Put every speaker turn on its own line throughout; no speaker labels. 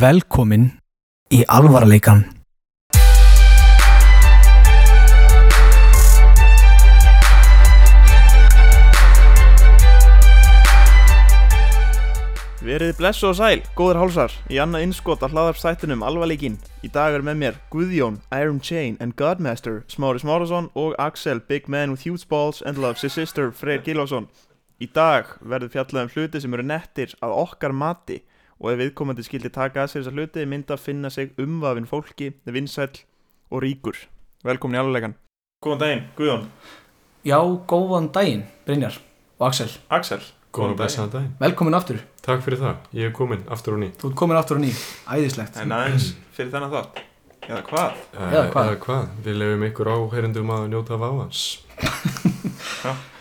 Velkomin í alvarleikan.
Verið blessu og sæl, góður hálsar, í annað innskot að hlaðarpstættinum alvarleikinn. Í dag er með mér Guðjón, Iron Chain and Godmaster, Smári Smárasson og Axel, Big Man with Huge Balls and Loves His Sister, Freyr Gilvason. Í dag verður fjallað um hluti sem eru nettir að okkar mati og ef viðkomandi skildi taka að sér þessa hluti mynda að finna sig umvafinn fólki, vinsæll og ríkur. Velkomin í alvarleikan. Góðan daginn, Guðjón.
Já, góðan daginn, Brynjar og Axel.
Axel.
Góðan
Góðan
blessaðan daginn.
Velkomin aftur.
Takk fyrir það. Ég er komin aftur og ný.
Þú ert komin aftur á ný. Æðislegt.
En aðeins fyrir þennan þátt. Já, hvað?
Eða hvað?
Eh, Eða hvað? Við lefum ykkur áherendum að njóta váans.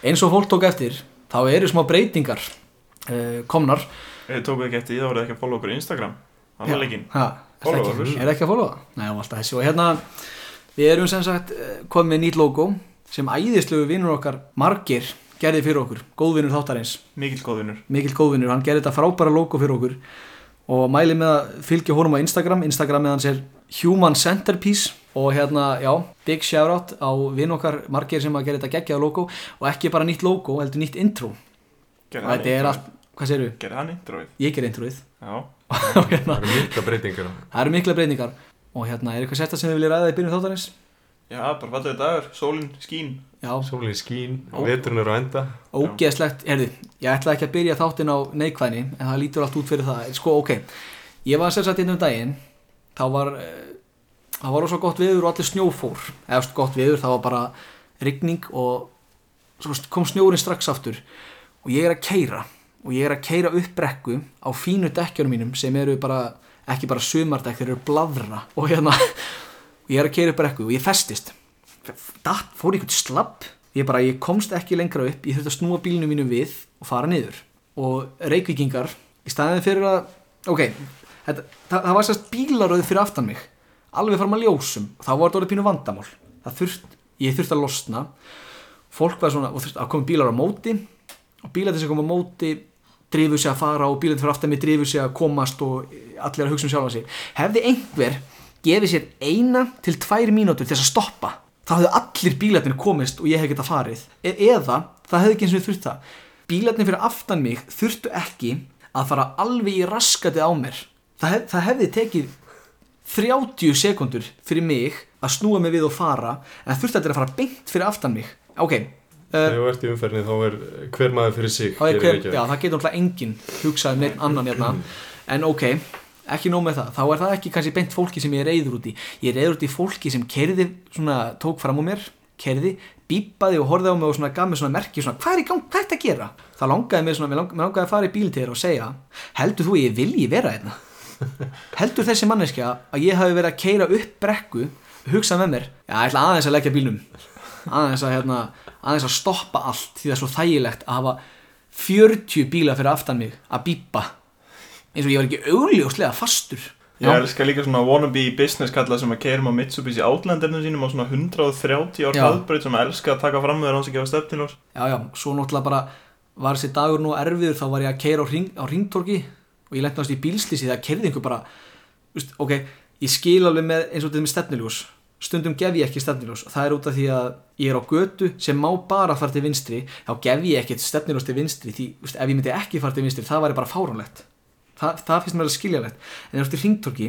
Eins og fólk tók eftir, þá eru smá breytingar uh, komnar.
Ef þið tókuð ekki eftir því þá voruð þið ekki að followa okkur á Instagram. Alvarleikinn.
Ha, er það
Followa
ekki,
okkur.
er ekki að followa? Nei, um alltaf þessi. Og hérna, við erum sem sagt eh, komið með nýtt logo sem æðislegu vinnur okkar, Margir, gerði fyrir okkur. Góðvinnur þáttarins.
Mikill góðunur.
mikill góðvinnur, hann gerir þetta frábæra logo fyrir okkur og mæli með að fylgja honum á Instagram, Instagram með hans er Human Centerpiece og hérna, já, big shoutout á vinn okkar margir sem að gera þetta geggjaða logo og ekki bara nýtt logo, heldur nýtt intro og
Gerði hann
þetta er
introið?
allt, hvað segir við?
Gerði hann introið?
Ég ger introið
Já.
og hérna,
Það eru mikla breytingar á.
það eru mikla breyningar og hérna, er eitthvað sérsta sem við viljum ræða í byrjun þáttanins?
Já, bara fallega dagur, sólinn, skín.
Já,
Sólinn skín,
Ó.
veturinn er á enda.
ógeðslegt, herði, ég ætla ekki að byrja þáttinn á neikvæðni, en það lítur allt út fyrir það, sko, ok, ég var sem sagt inn um daginn, þá var, eh, það var rosa gott viður og allir snjófór, eða þú veist, gott viður, það var bara rigning og svo kom snjórin strax aftur og ég er að keira og ég er að keira upp brekku á fínu dekkjunum mínum sem eru bara, ekki bara sumardekk, þeir eru bladra og hérna, og ég er að keira upp brekku og ég festist datt, fór í einhvern slapp ég bara, ég komst ekki lengra upp ég þurfti að snúa bílinu mínu við og fara niður og reykvíkingar í staðin fyrir að, ok þetta, það, það var sérst bílaröð fyrir aftan mig alveg fram að ljósum og þá var þetta orðið pínu vandamál það þurft, ég þurfti að losna fólk var svona, og þurfti að koma bílar á móti og bílarnir sem koma á móti drifu sig að fara og bílarnir fyrir aftan mig drifu sig að komast og allir að hugsa um sjálfan sig hefði einhver gefið sér eina til tvær mínútur til þess að stoppa þá hefðu allir bílarnir komist og ég hef getað farið e eða það hefði ekki eins og þurft það bílarnir fyrir aftan mig þurftu ekki að fara alveg í raskatið á mér það, hef, það hefði tekið 30 sekundur fyrir mig að snúa mig við og fara en þurfti allir að fara beint fyrir aftan mig ok, uh,
Þegar þú ert í umferðinni þá er hver maður fyrir sig.
það, er
gerir
hver,
ekki.
já, það getur náttúrulega enginn hugsað um neitt annan hérna en ok, ekki nóg með það þá er það ekki kannski beint fólki sem ég er reyður út í ég er reyður út í fólki sem kerði svona, tók fram úr mér, kerði bípaði og horfði á mig og svona, gaf mér svona merki svona, hvað er í gang, hvað er þetta að gera það langaði mig svona, mér lang- mér langaði að fara í bíl til þér og segja heldur þú að ég vilji vera hérna heldur þessi manneskja að ég hafi verið að keira upp brekku hugsa með mér, já, ég ætla aðeins að leggja bílnum aðeins að, hérna, aðeins að stoppa allt því það er svo þægilegt að hafa 40 bíla fyrir aftan mig að bípa eins og ég var ekki augljóslega fastur
Ég elskar líka svona wannabe business kalla sem að keirum á Mitsubishi Outlandernum sínum á svona 130 ár
Já.
hraðbreyt sem að elska að taka fram með þér hans að gefa stefn til oss.
já, já, svo náttúrulega bara var þessi dagur nú erfiður, þá var ég að keira á, hring, á ringtorki og ég lenti næst í bílslýsi þegar keirði einhver bara, veist, ok ég skil alveg með, eins og þetta með stefniljós stundum gef ég ekki stefniljós það er út af því að ég er á götu sem má bara fara til vinstri, þá gef ég ekkert stefniljós til vinstri, því veist, ef ég myndi ekki fara til vinstri, það væri bara fáránlegt Þa, það finnst mér að skiljanlegt, en ef þú ert í ringtorki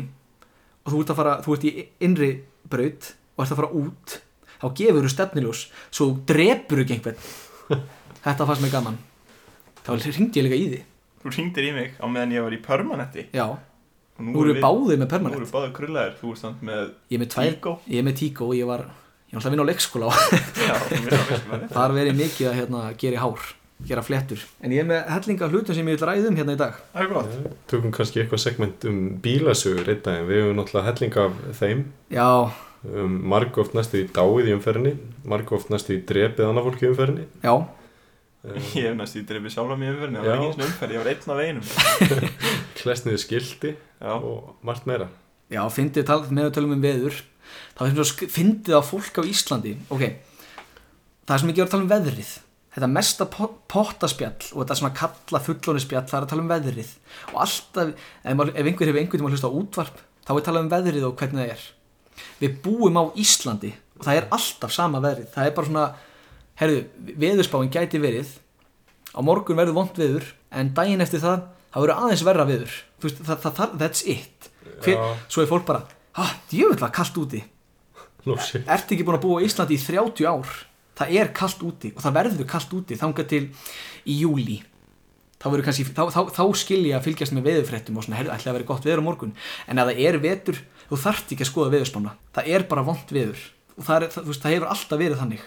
og þú ert að fara, þú ert í innri braut og ert að fara út þá gefur þú stefniljós svo þú drepur ekki einhvern þetta fannst mér gaman þá ringdi ég líka í því
Þú ringdir í mig á meðan ég var í permanetti.
já,
Og
nú erum við báðið með
Nú
permanent
eru báðið krullaðir, þú ert samt með...
ég er með tvær,
Tíkó.
ég er með tíkó ég var, ég var alltaf að vinna á leikskóla og
Já, mér er að veist með
þar verið mikið að hérna, gera í hár gera flettur, en ég er með hellinga hlutum sem ég vil ræða um hérna í dag
Það er gott.
Tökum kannski eitthvað segment um bílasögur einn daginn. Við hefum náttúrulega helling af þeim.
já,
Um, marg oft næstu í dáið í umferðinni. Marg oft næstu í drepið annað fólk í umferðinni. Eh,
já,
Ég hef næst í dreifið sjálf á mér umferðinu, það
Já.
var ekki eins og umferð, ég var einn af einum.
Klesniði skildi
Já,
og margt meira.
Já, fyndið talað með að tölum um veður þá finnst þú að fyndið á fólk á Íslandi ok, það er sem ekki að tala um veðrið þetta mesta po- pottaspjall og þetta svona kalla fullónispjall það er að tala um veðrið og alltaf, ef, maður- ef einhver hefur einhvern tímann hlusta á útvarp þá er talað um veðrið og hvernig það er við búum á Íslandi og það er alltaf sama veðrið það er bara svona, herðu, veðurspáin gæti verið á morgun verður vond veður en daginn eftir það, það verður aðeins verra veður Þú veist, það, það, það, that's it Hver,
Já.
svo er fólk bara, hæ, djöfull var kallt úti
Nú sé
ertu ekki búin að búa á Íslandi í 30 ár það er kallt úti og það verður kallt úti þangað til í júli þá, verður kannski, þá, þá, þá skilja að fylgjast með veðurfréttum og svona herðu ætla að vera gott veður á morgun en ef það er vetur þú þarft ekki að skoða veðurspána það er bara vond veður og það, er, það, þú veist, það hefur alltaf verið þannig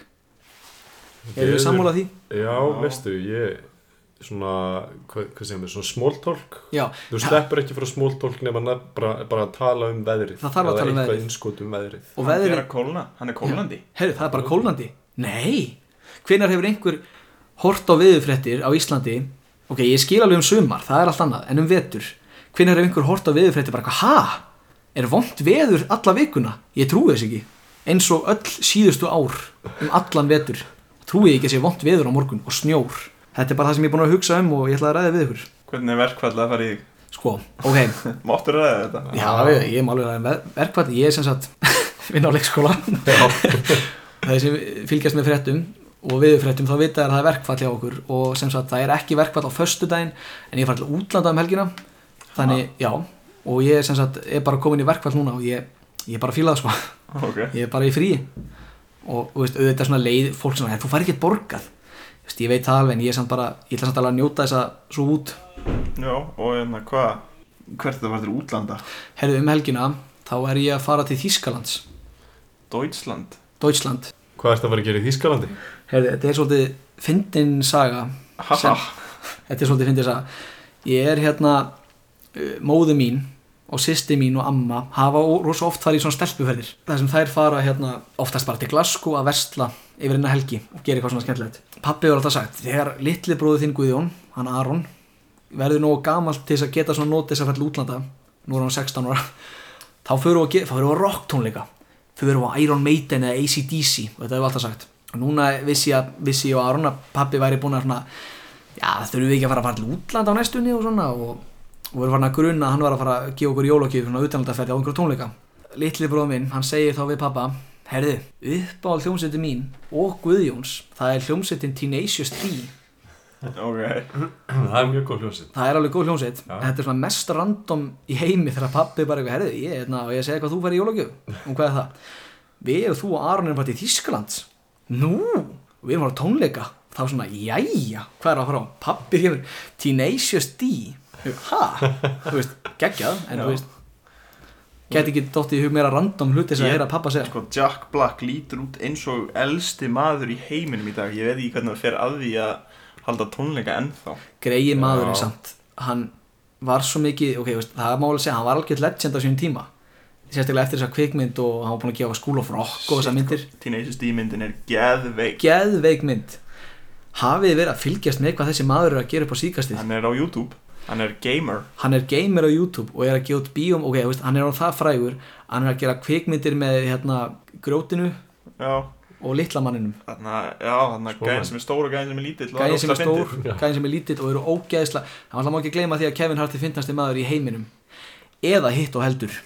erum við
Veður-
sammálað því?
Já, veistu, ég svona, hvað, hvað segir mér, svona smóltólk
Já,
Þú sleppur ekki frá smóltólk nema nefn, bara, bara að tala um veðrið
Það þarf að
Eða
tala um
eitthvað
veðrið.
innskot um veðrið
og
Hann
veðrið
er að kólna, hann er kólnandi
Herru, það er bara kólnandi Nei, hvenar hefur einhver hort á viðurfréttir á Íslandi Ok, ég skil alveg um sumar, það er allt annað En um vetur, hvenar hefur einhver hort á viðurfréttir bara eitthvað, ha? Er vond veður alla vikuna? Ég trúi þess ekki Eins og öll síðustu ár um allan vetur Trúi ég ekki að sé vond veður á morgun og snjór Þetta er bara það sem ég er búin að hugsa um og ég ætla að ræða við ykkur
Hvernig er verkfall að fara í þig?
Sko, ok,
Máttur að ræða þetta?
Já, ég, ég má alveg að ver verkfall, ég er sem sagt vinn á leikskóla það sem fylgjast með fréttum og við fréttum þá vita er að það er verkfall hjá okkur og sem sagt það er ekki verkfall á föstudaginn en ég fara til útlanda um helgina þannig, já, og ég sem sagt er bara komin í verkfall núna og ég, ég er bara fílað sko,
Ok,
ég er bara í fríi og þú veist, auðvitað svona leið fólk sem að þú fær ekki borgað Þú veist, ég veit það alveg en ég er samt bara, ég ætla samt alveg að njóta þess að svo út
já, og hérna, hvað? Hvert þetta var til útlanda?
herðu um helgina þá er ég að fara til Þýskalands,
Deutschland
Deutschland
Hvað ertu að fara að gera í Þýskalandi?
Herði, þetta er svolítið fyndin saga
Haha,
Sem- Þetta er svolítið fyndin saga Ég er hérna uh, móðu mín og sýsti mín og amma hafa ó- rosa oft farið í svona stelpuferðir þar sem þær fara hérna oftast bara til Glasgow að versla yfir hennar helgi og gera eitthvað svona skemmtilegt Pappi var alltaf sagt, þegar litli bróðu þinn Guðjón hann Aron, verður nógu gamalt til þess að geta svona nótis að falla útlanda nú er hann 16 ára þá fyrir við að, ge- þá förum við á rocktónleika fyrir við á Iron Maiden eða ACDC og þetta hefur alltaf sagt og núna vissi ég, að- vissi ég og Aron að pappi væri búin að svona já þurfum við ekki að fara að fara til útlanda á næstunni og svona og, og við erum farin að gruna að hann var að fara að gefa okkur jólokið svona utanlandaferði á einhverjum tónleika litli bróð minn, hann segir þá við pappa herðu, upp á hljómsveitin mín og Guðjóns, það er hljómsveitin Tenacious 3
ok
Það er mjög góð hljóðsinn
það er alveg góð hljómsveit
Já.
þetta er svona mest random í heimi þegar pappi bara eitthvað herðið ég, hérna, og ég segi hvað þú verið í jólagjöf um hvað er það við og þú og Aron erum bara til Þýskalands nú, og við erum bara á tónleika þá svona, jæja, hvað er að fara á pappi kemur, Tenacious D ha, þú veist, geggjað en þú
Já.
veist geti ekki dottið í hug meira random hluti sem
Ég-
að heyra pappa segja
Sko, Jack Black lítur út eins og elsti maður í heiminum í dag Ég veit ekki hvernig það fer að því að halda tónleika ennþá
greiði maðurinn
Já.
samt hann var svo mikið, ok, veist, það er máli að segja hann var algjörð legend á sínum tíma sérstaklega eftir þessa kvikmynd og hann var búin að gefa School of Rock og þessa myndir,
sko.
Teenage D-myndin er geðveik
geðveik mynd hafið þið verið að fylgjast með hvað þessi maður er að gera upp á síkastið
Hann er á YouTube, hann er gamer
hann er gamer á YouTube og er að gefa út bíóm ok, veist, hann er á það frægur hann er að gera kvikmyndir með hérna, grjótinu
Já,
og litlamanninum
þannig að, já, þannig að
Spóman.
gæðin sem er stór og gæðin sem er lítill og það
gæðin sem er
ógeðslega fyndið.
stór, gæðin sem er lítill og eru ógeðsla hann alltaf má ekki gleyma því að Kevin Hart er finnast maður í heiminum eða hitt og heldur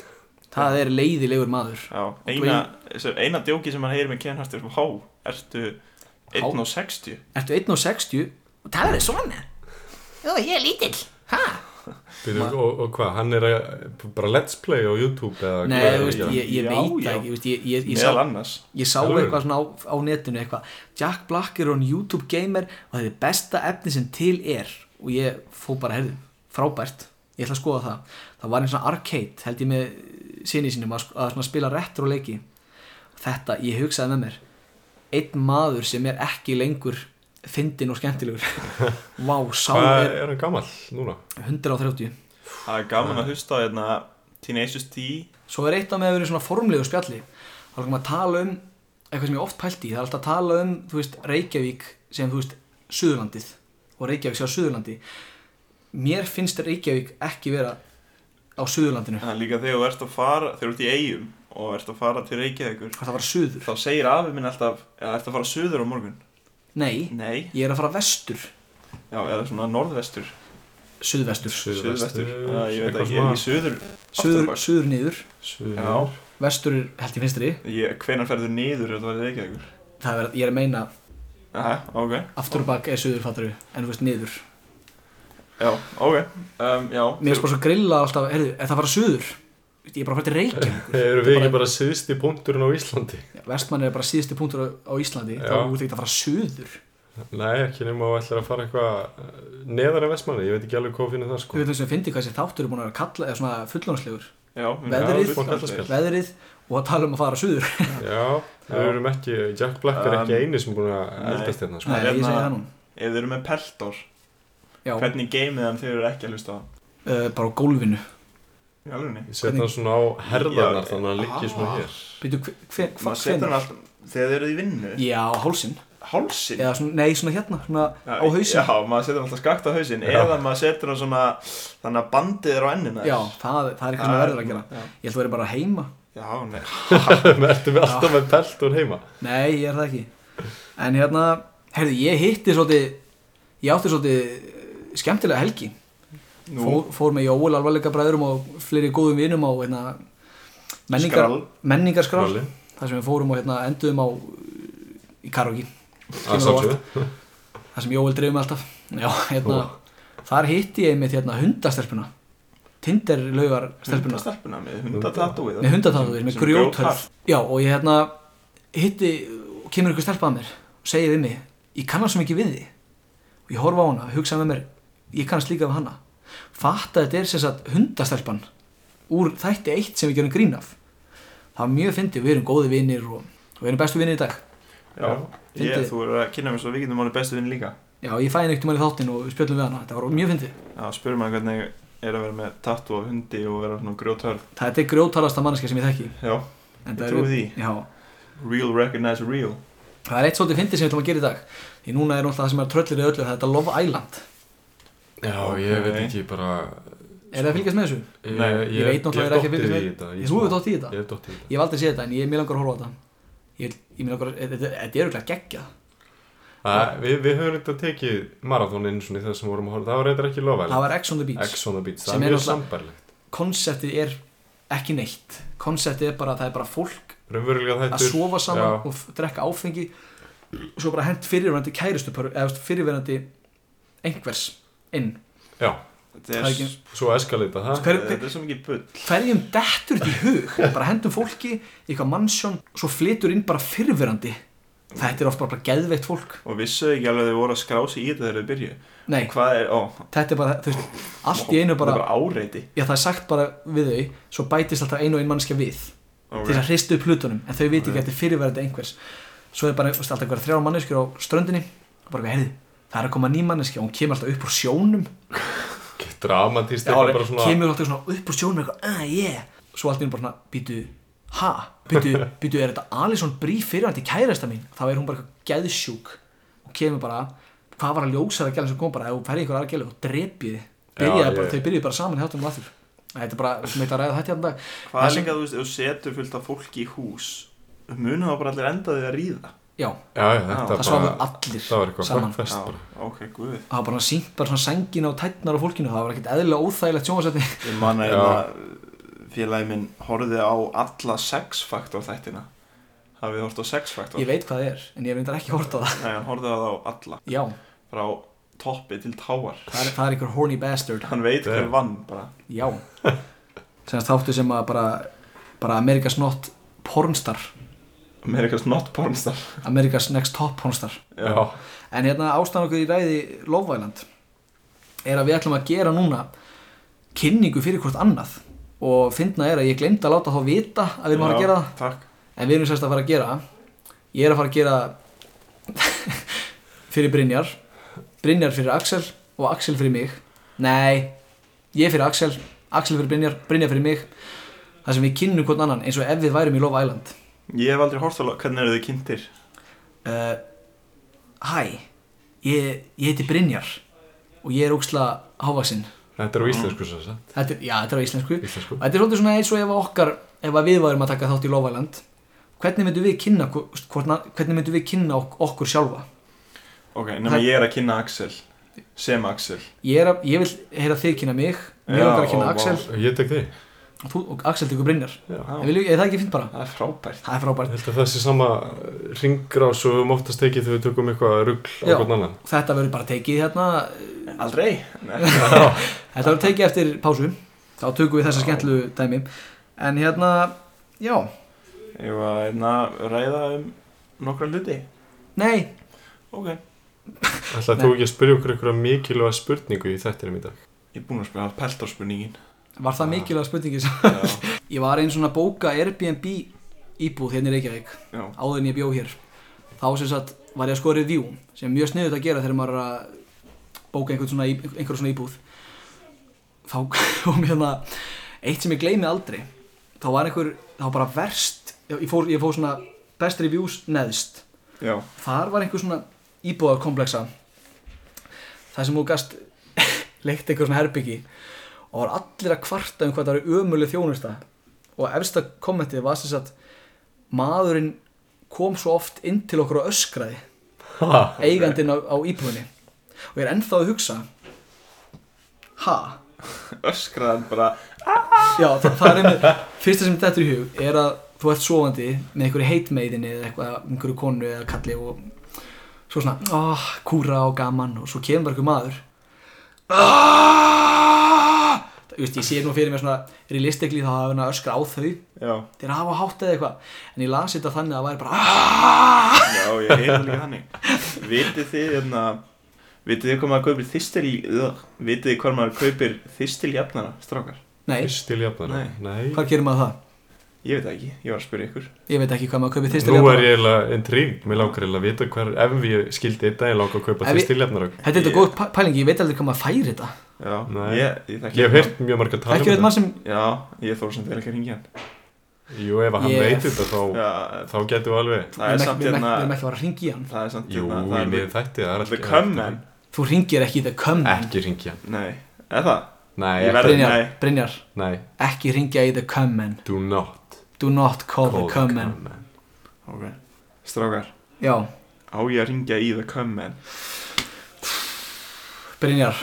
það er leiðilegur maður
Já, eina, sem- eina djóki sem hann heyrir með Ken Hart er Há, ertu 1.60
ertu 1.60 og talar þið svona Jó, ég er lítill ha?
og, og hvað, hann er að, bara let's play á YouTube eða
Nei,
hvað er
þú
hann
veist,
að gera?
ég, ég
Já,
veit
já.
það ekki þú veist, ég, ég, ég,
meðal
sá,
annars
ég sá
Alveg.
eitthvað svona á, á netinu eitthvað Jack Black er on YouTube gamer og það er besta efni sem til er og ég fó bara, heyrðu, frábært ég ætla að skoða það það var einn svona arcade, held ég með sinni sínum að, að svona spila retro leiki þetta, ég hugsaði með mér einn maður sem er ekki lengur fyndin og skemmtilegur vá, sá
Hvað er,
er
hann gamall núna?
130
Það er gaman að hlusta á hérna Teenage D
Svo er eitt af með að vera í svona formlegu spjalli þá erum við að tala um eitthvað sem ég oft pælt í, það er alltaf að tala um þú veist, Reykjavík sem þú veist Suðurlandið og Reykjavík sé á Suðurlandi mér finnst Reykjavík ekki vera á Suðurlandinu
Þannig að líka þegar þú ert að fara, þegar þú ert í eigum og ert að fara til Reykjavíkur
hvað það var Suður
þá segir afi minn alltaf að ert að fara suður á morgun
Nei,
Nei,
ég er að fara vestur
já, eða svona norðvestur
Suðvestur
Suðvestur, já, ég veit ekki, ég er í
eitthvað
suður
Suður,
Afturbak.
suður niður,
svona
Já,
Suður-
vestur er held ég finstri
ég, hvenar ferðu niður ef þú verður ekki ekkur?
Það er, ég er að meina,
Aha, ok,
afturbak er suður fattur En þú veist niður
já, ok, um, já
Mér er bara svo grilla alltaf, heyrðu, er það að fara suður? Ég er bara að fara til Reykjavík
Eru við ekki bara síðusti punkturinn á Íslandi?
Vestmann er bara síðusti punktur á- á Íslandi
Já.
Þá er út ekkert að fara suður
Nei, ekki nema að ætlar að fara eitthvað eh, neðar en vestmanni, ég veit ekki alveg hvað finnir það
Þú
sko
veit þess að fyndi hvað þessi þáttur er búin að vera að kalla Eða svona fullónslegur
já, mér-
veðrið-
já, fullkomlega.
Veðrið og að tala um að fara suður
Já, við erum ekki, Jack Black er ekki
Um,
eini sem er búin að
nei.
eldast hérna sko
Nei, ég segi
hérna-
það nú
Ef þið eru með peltor,
Já,
hvernig geymið hann þegar þið eru ekki að hlusta á hann?
uh, bara á gólfinu
Í alvegni?
Ég setja hann svona á herðarnar
Já,
þannig að hann liggi svona
ah.
hér
Býtu, hver,
Maður setur hann alltaf, þegar þið eruð í vinnu,
Já, á hálsin
hálsin
Eða svona, nei, svona hérna, svona á hausin
Já, maður setur hann alltaf skakt á hausin,
Já.
eða maður setur hann svona, þannig að bandið er á ennina
Já, það, það er eitthvað sem verður að gera
Já,
Ég held að vera bara heima
já nei,
Ertu við alltaf með peltun heima?
Nei, ég er það ekki En hérna, heyrðu, ég hitti svolítið Ég átti svolítið eh, skemmtilega helgi
nú,
fór, fór með Jóel alvarleika bræðurum og fleiri góðum vinum á hérna, menningar,
Skrall.
menningarskrall
Skralli.
Þar sem við fórum og hérna, enduðum á eh, í karaoke Kemur á
Að sjálfsögðu.
Það sem Jóel dreif mig alltaf Já, hérna, þar hitti ég einmitt hérna, hundastelpuna Tinder laugar stelpuna
Hundastelpuna með hundatatúið
Með hundatatúið, með
Sem
grjóthörð
grjóthörð.
Já, og ég hérna hitti, kemur ykkur stelpa að mér og segir við mig, ég kannast svo mikið við því og ég horfa á hana, hugsa með mér ég kannast líka við hana fatta að þetta er sem sagt hundastelpan úr þætti eitt sem við gerum grín af það var mjög fyndið, við erum góði vinir og, og við erum bestu vinir í dag
Já, ég,
Fyndið.
þú eru að kynna mér svo við getum ánum bestu vinn líka
Já, ég fæði neitt um í þáttin og við spjöllum við hana, þetta var mjög fyndið
Já, spyrum maður hvernig er að vera með tattu á hundi og vera svona grjóthörð
Það er grjótarasta manneskja sem ég þekki
Já,
En
Ég
það
trúi
eru-
því.
Já,
real recognize real
það er eitt svolítið fyndið sem við ætlum að gera í dag Því núna er náttúrulega það sem er tröllir í öllu, það er þetta Love Island
Já, ég veit
Nei.
ekki bara
Er það að fylgjast með þessu?
Eh, Ég,
Nei,
ég veit náttúrulega ekki að fylgjast
dottið í
með-
þetta,
Ég þú hefur dótt í þetta?
Ég hef dottið í þetta
Ég hef aldrei séð þetta en ég er mjög langar að horfa á þetta Ég, vil- ég mjög langar að, þetta- þetta þetta er auðvitað geggjað
Æ, Við, við höfum þetta tekið marathónin eins og það sem vorum að horfa, það var reyndar ekki lofa
Það var X on the Beach
X on the Beach,
Sem
það er
er
mjög
náttúrulega-
sambarlegt
Konceptið er ekki neitt Konceptið er bara, það er bara fólk
Raunverulega
að
þættur
sofa saman
já.
og f- drekka áfengi og svo bara hent fyrirverandi kæristu eða þú veist, fyrirverandi einhvers inn
Já,
Þetta
Það er
er,
ekki-
svo eskalita það
Hver-
þetta er svo mikið bull
hverjum dettur þetta í hug bara hendum fólki í eitthvað mannsjón svo flytur inn bara fyrrverandi þetta er oft bara, bara geðveikt fólk
Og vissuðu ekki alveg að þið voru að skrási í þetta þegar þið byrju
nei,
Hvað er, ó
þetta er bara, þú veist, allt í einu
Það
bara
er bara áreiti
já það er sagt bara við þau svo bætist alltaf ein og ein mannskja við til að hristu upp hlutunum, en þau viti ekki að þetta er fyrirverandi einhvers svo er bara, þú veist, alltaf einhverja þrjá manneskjur á ströndinni og bara, heyrðu, það er að koma ný manneskja og hún kemur alltaf upp úr sjónum
Dramatist
Já,
eitthvað bara svona
kemur alltaf svona upp úr sjónum eitthvað, ah, yeah svo allt í einu bara svona, býtu, ha býtu, býtu, er þetta Alison Brie fyrirvændi kærasta mín, þá er hún bara eitthvað geðsjúk og kemur bara hvað var að ljósa það gæla sem kom bara ef hún færði ykkur aðra gæla og drepið þið.
Já,
byrjaði bara,
ég-
þau byrjuði bara saman hjáttunum aftur þetta er bara sem eitthvað að ræða þetta hérna dag
Hvað
Það
er
sem-
líka, þú veist, ef þú setur fullt af fólki í hús Munu þá bara allir enda því að ríða
já,
Já, já, þetta
Já,
bara
það sváðu allir
Það var eitthvað
saman.
fest
Já,
bara
ok, guð
það var bara sínt bara svona sengina og tætnar á fólkinu það var ekkert eðlilega óþægilegt sjónvarsætti
Ég man að
Já.
hérna, félagi minn horfði á alla sexfaktor þættina Hafið hort á sexfaktor
ég veit hvað það er, en ég reyndar ekki hort á það
Nei, hann horfði á það á alla
já,
Frá toppi til táar
það er, það er einhver horny bastard
Hann veit hver vann bara
Já Sennast þáttu sem að bara, bara America's Not Pornstar
America's not pornstar
America's Next Top Pornstar
Já,
En hérna ástæðan okkur í ræði Love Island er að við ætlum að gera núna kynningu fyrir hvort annað og fyndna er að ég glemdi að láta þá vita að við erum að fara að gera það
Takk
en við erum sérst að fara að gera ég er að fara að gera fyrir Brynjar Brynjar fyrir Axel og Axel fyrir mig nei, ég fyrir Axel Axel fyrir Brynjar, Brynjar fyrir mig það sem við kynnum hvort annan eins og ef við værum í Love Island
Ég hef aldrei hort á hvernig eru þið kynntir
uh, Hæ ég, ég heiti Brynjar og ég er óksla hávaksinn
þetta er á íslensku sem sagt
þetta er, já, þetta er á íslensku
Íslensku
þetta er svolítið svona eins og ef okkar ef að við varum að taka þátt í Love Island hvernig myndum við kynna, hvor- hvort, na- hvernig myndum við kynna ok- okkur sjálfa
Ok, nema
Það-
ég er að kynna Axel Sem Axel
Ég, er að, ég vil heyra þig kynna mig Mér
Já,
langar að kynna
ó, vá.
Axel
Ég tek þig
og, þú, og Axel tekur Brynjar
Já.
Á,
En viljum- Er það ekki fint bara?
Það er frábært
Það er frábært
Ég held að það sé sama ringrás og við höfum oftast tekið þegar við tökum eitthvað rugl á
Já.
hvern annan.
Þetta verður bara tekið hérna
Aldrei
Þetta verður tekið eftir pásu Þá tökum við þessa
Já.
skemmtlu dæmi En hérna, já,
Ég var hérna ræða um nokkra hluti
nei
Ok
Ætlaði þú ekki að spyrja okkur einhverja mikilvæga spurningu í þættinum í dag?
Ég er búinn að spila pelt á spurningin
Var það
Já.
mikilvæg spurningi sem
Já,
Ég var einn svona að bóka Airbnb íbúð hérna í Reykjavík
já
áður en ég bjó hér þá sem sagt var ég að skoða review sem er mjög sniðut að gera þegar maður er að bóka einhvern svona, í- einhver svona íbúð þá kom hérna eitt sem ég gleymi aldrei þá var einhver, þá bara verst ég fór, ég fór svona best reviews neðst
Já,
þar var einhver svona íbúðarkompleksa þar sem þú gast leikt einhver svona herbyggi og var allir að kvarta um hvað það eru ömuleg þjónusta og efsta kommentið var sem sagt maðurinn kom svo oft inn til okkur og öskraði
Ha?
eigandinn á, á íbúðinni og ég er ennþá að hugsa ha?
öskraðan bara
Já, það, það er einmitt fyrsta sem þetta er í hug er að þú ert sofandi með einhverju heitmeiðinni eða eitthvað, einhverju konu eða kalli og svo svona, ah, kúra og gaman og svo kemur bara einhver maður ah! Það, Þú veist, ég sé nú fyrir mér svona realistikli þá hafa hann að öskra á þau
Já,
til að hafa hátt eða eitthvað en ég las þetta þannig að það væri bara ah!
já, ég heyrði líka hannig Vitið þið hérna Vitið þið hvað maður kaupir þistil ugh, Vitið þið hvað maður kaupir þistil jafnara, strákar
Nei,
Fyrst til jafnara? Nei.
hvað gerir maður það?
Ég veit það ekki, ég var að spyrja ykkur
Ég veit ekki hvað maður kaupir þýstil
Nú er ég eiginlega intrigued, mér langar eiginlega að vita hver, ef ég skildi einn dag, ég langar að kaupa
Ef ég-
fyrst til jafnara.
Þetta er þetta
Ég-
góð pæ- pæling, ég veit aldrei hvað maður færi þetta
Já,
Nei.
ég, ég þekki
Ég hef heyrt mjög marga tala um
Ekki veit maður sem,
Já, ég þór sem vel ekki að ringja hann
Jú, ef hann
Ég-
veit þetta þá,
Já,
þá getum við alveg.
við
það er
erum
samt
ekki- við erum
hérna
ekki við erum ekki að fara að ringi hann
Það er samt
Jú,
hérna,
í
það
miður
er
þætti, það er
The
alltaf.
Cumman
Þú ringir ekki í The Come Man
Ekki ringja.
Nei, er það?
Nei,
Ég
ekki-
verð-
Brynjar,
Nei.
Brynjar,
nei,
ekki ringja í The Come Man
do not
Do not call,
call
The
the
Come Man
Cumman.
Ok Strákar,
Já,
á ég að ringja í The Cumman
Brynjar,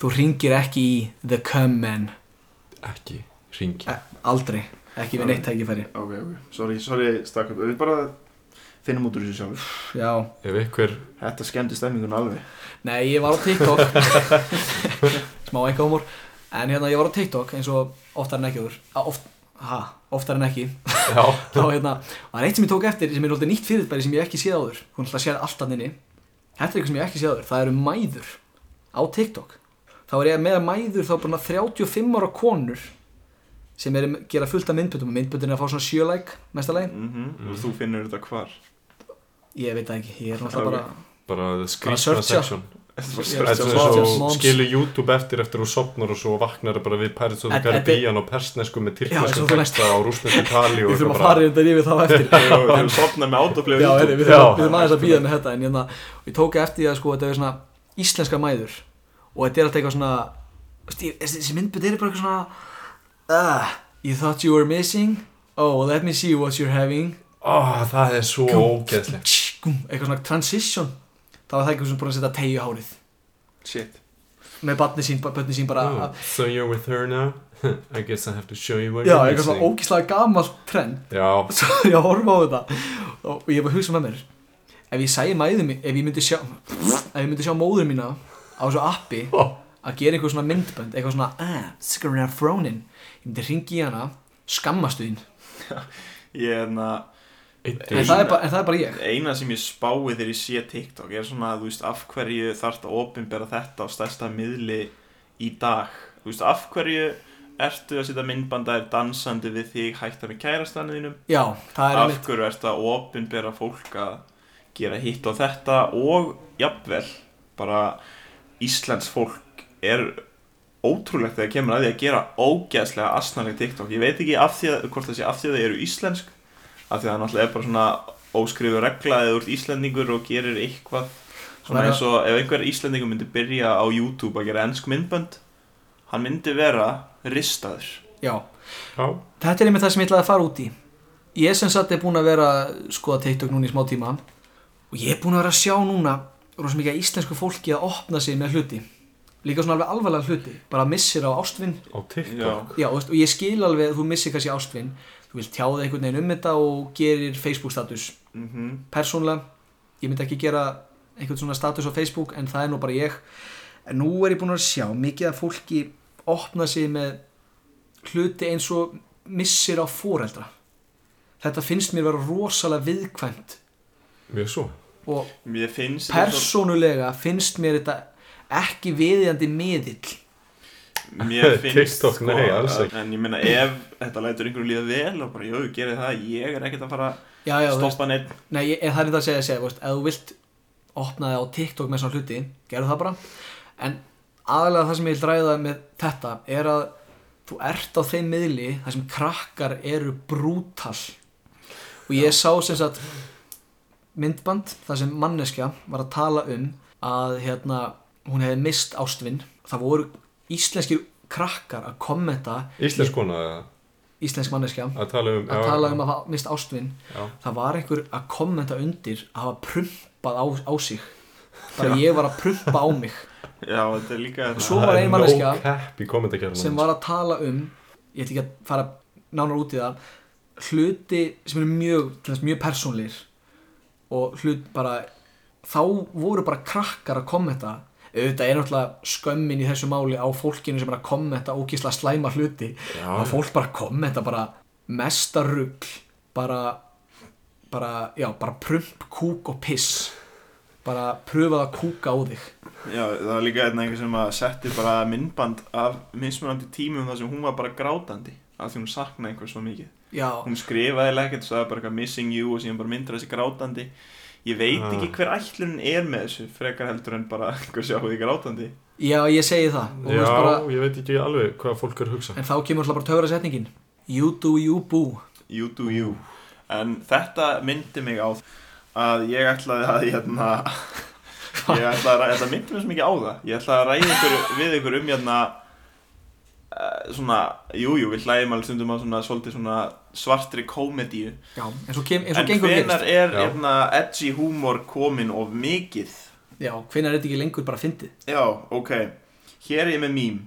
þú ringir ekki í The Come Man
Ekki ringja.
E- Aldrei, ekki við neitt tækifæri
Ok, ok, sorry, sorry, strákar Við bara finnum út úr þessu sjálf
Já,
Ef ykkur,
Þetta skemmdi stemmingun alveg
Nei, ég var á TikTok Smá einhverjumor En hérna, ég var á TikTok eins og oftar en ekki úr oft, ha, Oftar en ekki
já,
Þá hérna, var eitt sem ég tók eftir sem er alltaf nýtt fyrirbæri sem ég hef ekki séð áður Hún alltaf séð allt hann inni Þetta er eitthvað sem ég hef ekki séð áður, það eru mæður á TikTok Þá er ég með að mæður þá bara 35 ára konur sem er að gera fullt af myndböndum og myndböndin er að fá svona sjölæk mesta lagi,
mm Og þú finnur þetta hvar
ég veit það ekki ég er náttúrulega
Ok.
bara,
bara
searcha.
skrýtna section.
Þetta var
Ég-
skemmst
Þetta
Search
á
er eins
of
og
moms.
skilur YouTube eftir eftir þú sopnar og svo vaknar bara við Pirates of the
Þetta- þetta-
Caribbean og persnesku með
Já,
tyrknesku
svo þú veist.
texta og rúsnesku tali og
við þurfum
eitthvað
að fara þetta yfir þá eftir
Við erum sopnað með autoplay á
Já, heyrðu,
YouTube
við
Já.
þurfum við þurfum aðeins að býða með þetta en hérna, ég tók eftir því að sko, þetta er svona íslenska mæður og þetta er alltaf eitthvað svona veist, ég- þessi þessi myndbönd er bara eitthvað svona uh, You thought you were missing? Oh, let me see what you're having
Oh, það er svo
Kúm.
ógeðslegt
Tsh, gúm, Eitthvað svona transition þá var það eitthvað sem búin að setja tegi á hárið
Shit
með barni sín, barni sín bara
oh, So you're with her now? I guess I have to show you what
Já,
you're
eitthvað svona
missing
ógíslega gamalt trend
Já,
svo er ég að horfa á þetta og ég bara hugsa með mér ef ég sæði mæðum ef ég myndi sjá ef ég myndi sjá móður mína á þessu appi að gera eitthvað svona myndbönd eitthvað svona ah, Sigurinn er frónin ég myndi ringi í hana skammastu þín
Ég er hérna
en
eittur
það, er bara, en það er bara ég
Eina sem ég spái þegar ég sé TikTok er svona, þú veist, af hverju þarf að opinbera þetta á stærsta miðli í dag? Þú veist, af hverju ertu að setja myndbandaðir dansandi við þig hætta með kærastanniðinum?
já, það er
Af
einmitt
hverju ertu að opinbera fólk að gera hitt á þetta og jafnvel, bara Íslands fólk er ótrúlegt þegar kemur að því að gera ógeðslega asnaleg TikTok. Ég veit ekki af því að, hvort það sé af því að það eru íslensk, af því að það náttúrulega er bara svona óskrifu regla eða þú ert Íslendingur og gerir eitthvað svona
Svona-
eins og ef einhver Íslendingur myndi byrja á YouTube að gera ennsk myndbönd hann myndi vera ristaður
já.
Já,
þetta er einmitt það sem ég ætlaði að fara út í ég sem sagt er búin að vera að skoða TikTok núna í smá tíma og ég er búin að vera að sjá núna rosa mikið af íslensku fólki að opna sig með hluti líka svona alveg alvarlega hluti bara missir á ástvinn
á TikTok
Já,
Já.
og, veist, og ég skil alveg að þú missir kannski ástvinn þú vilt tjáða einhvern veginn um þetta og gerir Facebook status
mm
persónlega, ég myndi ekki gera einhvern svona status á Facebook en það er nú bara ég en nú er ég búin að sjá mikið að fólki opna sig með hluti eins og missir á foreldra þetta finnst mér vera rosalega viðkvæmt
mjög svo
og
Mér finnst þetta
persónulega finnst mér þetta ekki viðjandi miðill
svo- Mér finnst sko,
TikTok, nei, alls
að-
ekki.
En ég meina ef þetta lætur einhverju líða vel og bara, jú, gerði það, ég er ekkert að fara
já, já, þú
að
veist,
stoppa neitt
nei, ég, það er þetta að segja, segja þú veist, ef þú vilt opna þig á TikTok með svona hluti, gerðu það bara en aðalega það sem ég vil ræða með þetta er að þú ert á þeim miðli þar sem krakkar eru brútal og ég sá sem sagt myndband þar sem manneskja var að tala um að hérna hún hefði mist ástvinn það voru íslenskir krakkar að kommenta
íslensk kona eða?
íslensk manneskja
að tala um
að tala um að hafa mist ástvinn
Já.
það var einhver að kommenta undir að hafa prumpað á, á sig bara ég var að prumpa á mig
Já, þetta er líka
Og svo var ein manneskja
no cap í kommentarkerfinu
sem var að tala um ég ætti ekki að fara nánar út í það hluti sem eru mjög, til dæmis mjög persónlir og hlut bara þá voru bara krakkar að kommenta auðvitað er náttúrulega skömmin í þessu máli á fólkinu sem er að kommenta ógísla slæma hluti
Já.
að fólk bara kommenta bara mesta rugl bara, bara, já, bara prump, kúk og piss bara pröfað að kúka á þig
Já, það var líka einhvern veginn sem að setti bara myndband af mismunandi tímum þar sem hún var bara grátandi af því hún saknaði einhver svo mikið
já,
hún skrifaði eiginlega ekkert, sagði bara eitthvað missing you og síðan bara myndir þessi grátandi ég veit
Ah.
ekki hver ætlun er með þessu frekar heldur en bara einhver sjá því grátandi
já, ég segi það og þú
já,
veist bara,
ég veit ekki alveg hvað fólk er að hugsa
En þá kemur alltaf bara töfra setningin You do you boo
you do you en þetta myndi mig á að ég ætlaði að hérna ég ætlaði að ræða, þetta myndi mig svo mikið á það ég ætlaði að ræða ykkur, við ykkur um hérna eh, svona, jújú, jú, við hlægjum alveg stundum á svona, svolítið svona svartri komedíu
Já, en svo, kem, en svo
en
gengur
hvenar
hvenar,
er
Já.
hérna, edgy húmor komin of mikið
Já, hvenar er þetta ekki lengur bara fyndið
já, ok, hér er ég með mím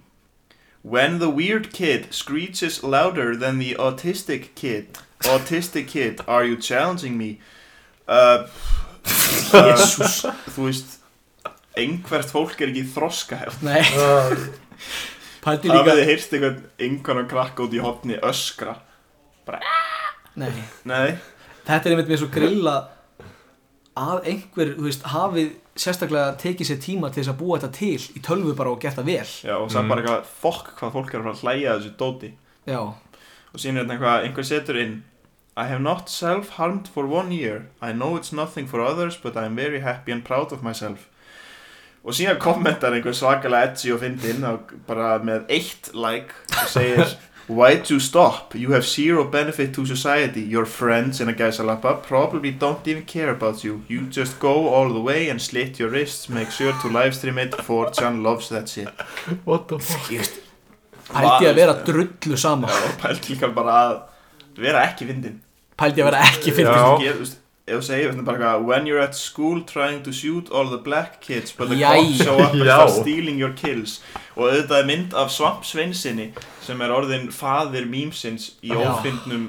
when the weird kid screeches louder than the autistic kid autistic kid, are you challenging me uh, uh,
Jésús
þú veist einhvert fólk er ekki hérna. þroskaheft
Nei, pældi
það
líka
hefði heyrst einhvern einhvern krakk út í hotni öskra
Nei,
nei,
þetta er einmitt með svo grilla að einhver, þú veist, hafið sérstaklega tekið sér tíma til þess að búa þetta til í tölvu bara og gert það vel
já, og sagði
Mm.
bara eitthvað fokk hvað fólk er að fara að hlæja að þessu dóti
Já,
og síðan er þetta eitthvað, einhver setur inn I have not self-harmed for one year I know it's nothing for others but I'm very happy and proud of myself og síðan kommentar einhver svakalega edgy og fyndinn og bara með eitt like og segir Why to stop? You have zero benefit to society Your friends in a gæsalappa probably don't even care about you You just go all the way and slit your wrists Make sure to livestream it 4chan loves that shit
what the fuck
ég veist Pældi að vera drullu sama
og pælt líka bara að vera ekki fyndinn
Pældi að vera ekki fyndið
Já.
Þú getur, þú veist, ef þú segir þetta bara eitthvað When you're at school trying to shoot all the black kids But the
Jæja.
cops show up and
Já.
start stealing your kills Og auðvitað er mynd af Svamp Sveinsinni Sem er orðin faðir mýmsins í
Já.
ófindnum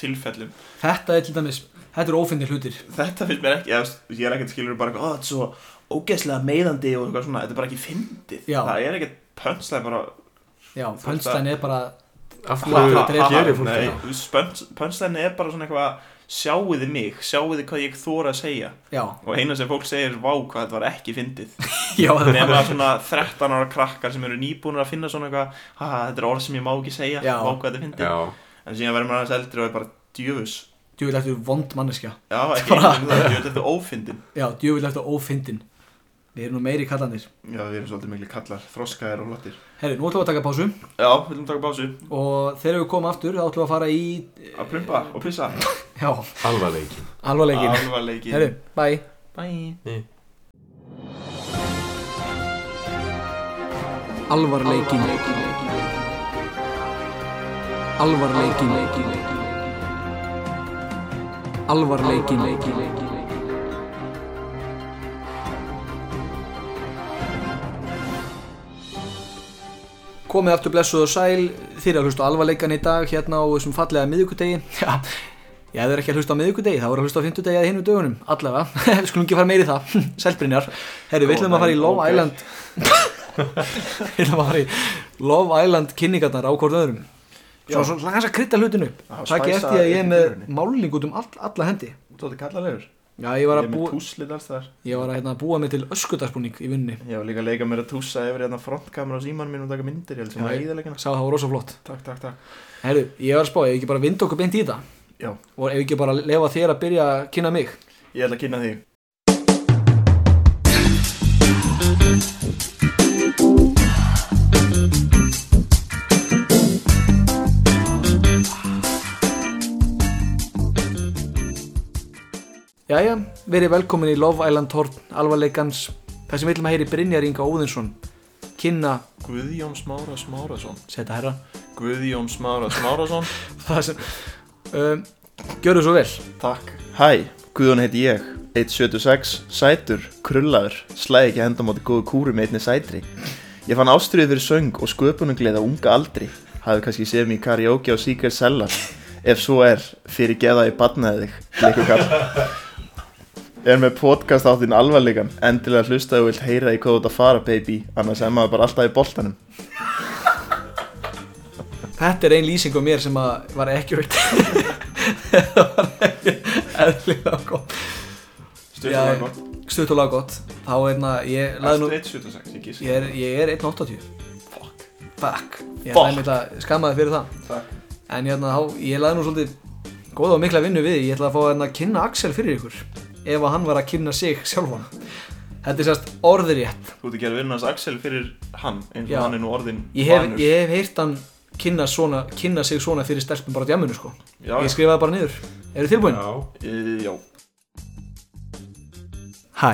tilfellum
Þetta er til dæmis, þetta er ófyndið hlutir
Þetta finnst mér ekki, eða, þú veist, ég er ekkert skilur bara eitthvað, "Ó, Þetta er svo ógeðslega meiðandi og eitthvað svona Þetta er bara ekki fyndið
Já.
Það er ekkert pönslega bara
Já, pönslæn er bara
af
Ha,
hverju
ha, ha,
gerir fólk
Nei,
þetta
þú veist, pönslega er bara svona eitthvað Sjáuði mig, sjáuði hvað ég þóra að segja
Já,
Og eina sem fólk segir, vá hvað þetta var ekki fyndið
já, það er
nema svona 13 ára krakkar sem eru nýbúnir að finna svona eitthvað haha, þetta er orð sem ég má ekki segja,
Já.
vá hvað þetta fyndi
já,
en síðan verður maður aðeins eldri og er bara djöfus
djúvilegt við vond manneskja
já, ekki einu sinni það, djöfus þetta er ófyndin
Já, djöfulegt og ófyndin Við erum nú meiri kallandir
já, við erum svolítið miklu kallar, þroskaðir og hlottir
Herri, nú ætlum við að taka pásu
já, við viljum taka básu,
og þegar við komum aftur þá ætlum við að fara í
að prumpa og pissa
Já,
alvarleiki
alvarleikin
alvarleikin
Herri, bye
bye
Alvarleikin Alvarleikin Alvarleikin komið aftur blessuð og sæl þið eru að hlusta á alvarleikan í dag hérna á þessum fallega miðvíkudegi já, já þið eru ekki að hlusta á miðvíkudegi það voru að hlusta á fimmtudegi eða hinu dögunum allavega, við skulum ekki fara meiri í það sælbrinjar, herru við ætlum að fara í Love
Ok.
Island við ætlum að fara í Love Island kynningarnar á hvort öðrum svo,
Já.
svo langar þess að krydda hlutin upp
Já,
það ekki
spæsa
eftir að ég er
upp í
með
kjörinni.
málning út um all, alla hendi
Þú ert kallalegur
já, ég
Ég
var
er
að
með
búa,
túslit alls þar
ég var að, hérna, búa mig til öskudagsbúning í vinnunni
Ég var líka að leika mér að tússa yfir hérna frontkamera á símanum mínum og taka myndir Ég held sem
Já,
að
ég-
íðalegina
sá það var rosa flott
Takk, takk, takk
Herru, ég var að spá, ef við ekki bara vinda okkur beint í þetta
Já.
og ef við ekki bara lefa þér að byrja að kynna mig
Ég ætla að kynna þig
Jæja, verið velkomin í Love Island Horn alvarleikans, þar sem við ætlum að heyri Brynjar Inga Óðinsson kynna,
Guðjón Smára Smárasson
seta herra
Guðjón Smára Smárasson
það sem um, gjörðu svo vel
Takk
Hæ, Guðjón heiti ég 176, sætur, krullaður Slæði ekki henda á móti góðu kúru með einni sætri Ég fann ástriðið fyrir söng og sköpunungleið á unga aldri Hafið kannski séð mér í karaoke á Secret Cellar Ef svo er, fyrir geða ég badnaði þig Leikukall Er með podcast áttinn alvarleikan Endilega hlustaðu og vilt heyra í hvað þú ert að fara baby Annars er maður bara alltaf í boltanum
Þetta er ein lýsing á mér sem að var accurate Þetta var ekki eðlilega gott
Stjórnum
Já,
var gott
Stuttulega gott Þá er hérna, ég laði nú
Eftir 176, ég gísi
Ég er, ég er 1.80
Fuck
Fuck Ég
Fuck.
er einmitt að skamma þig fyrir það
Takk
En hérna, þá, ég laði nú svolítið góða og mikla vinnu við Ég ætla að fá hérna að kynna Axel fyrir ykkur Ef að hann var að kynna sig sjálfan Þetta er sérst orðrétt
Þú ert að gera vinnans Axel fyrir hann eins og
Já.
hann er nú orðin
Ég hef,
vanur.
ég hef heyrt hann kynna, svona, kynna sig svona fyrir stelpum bara djáminu sko
Já,
Ég skrifaði bara niður Eru tilbúin?
Já,
ég Já,
Hæ,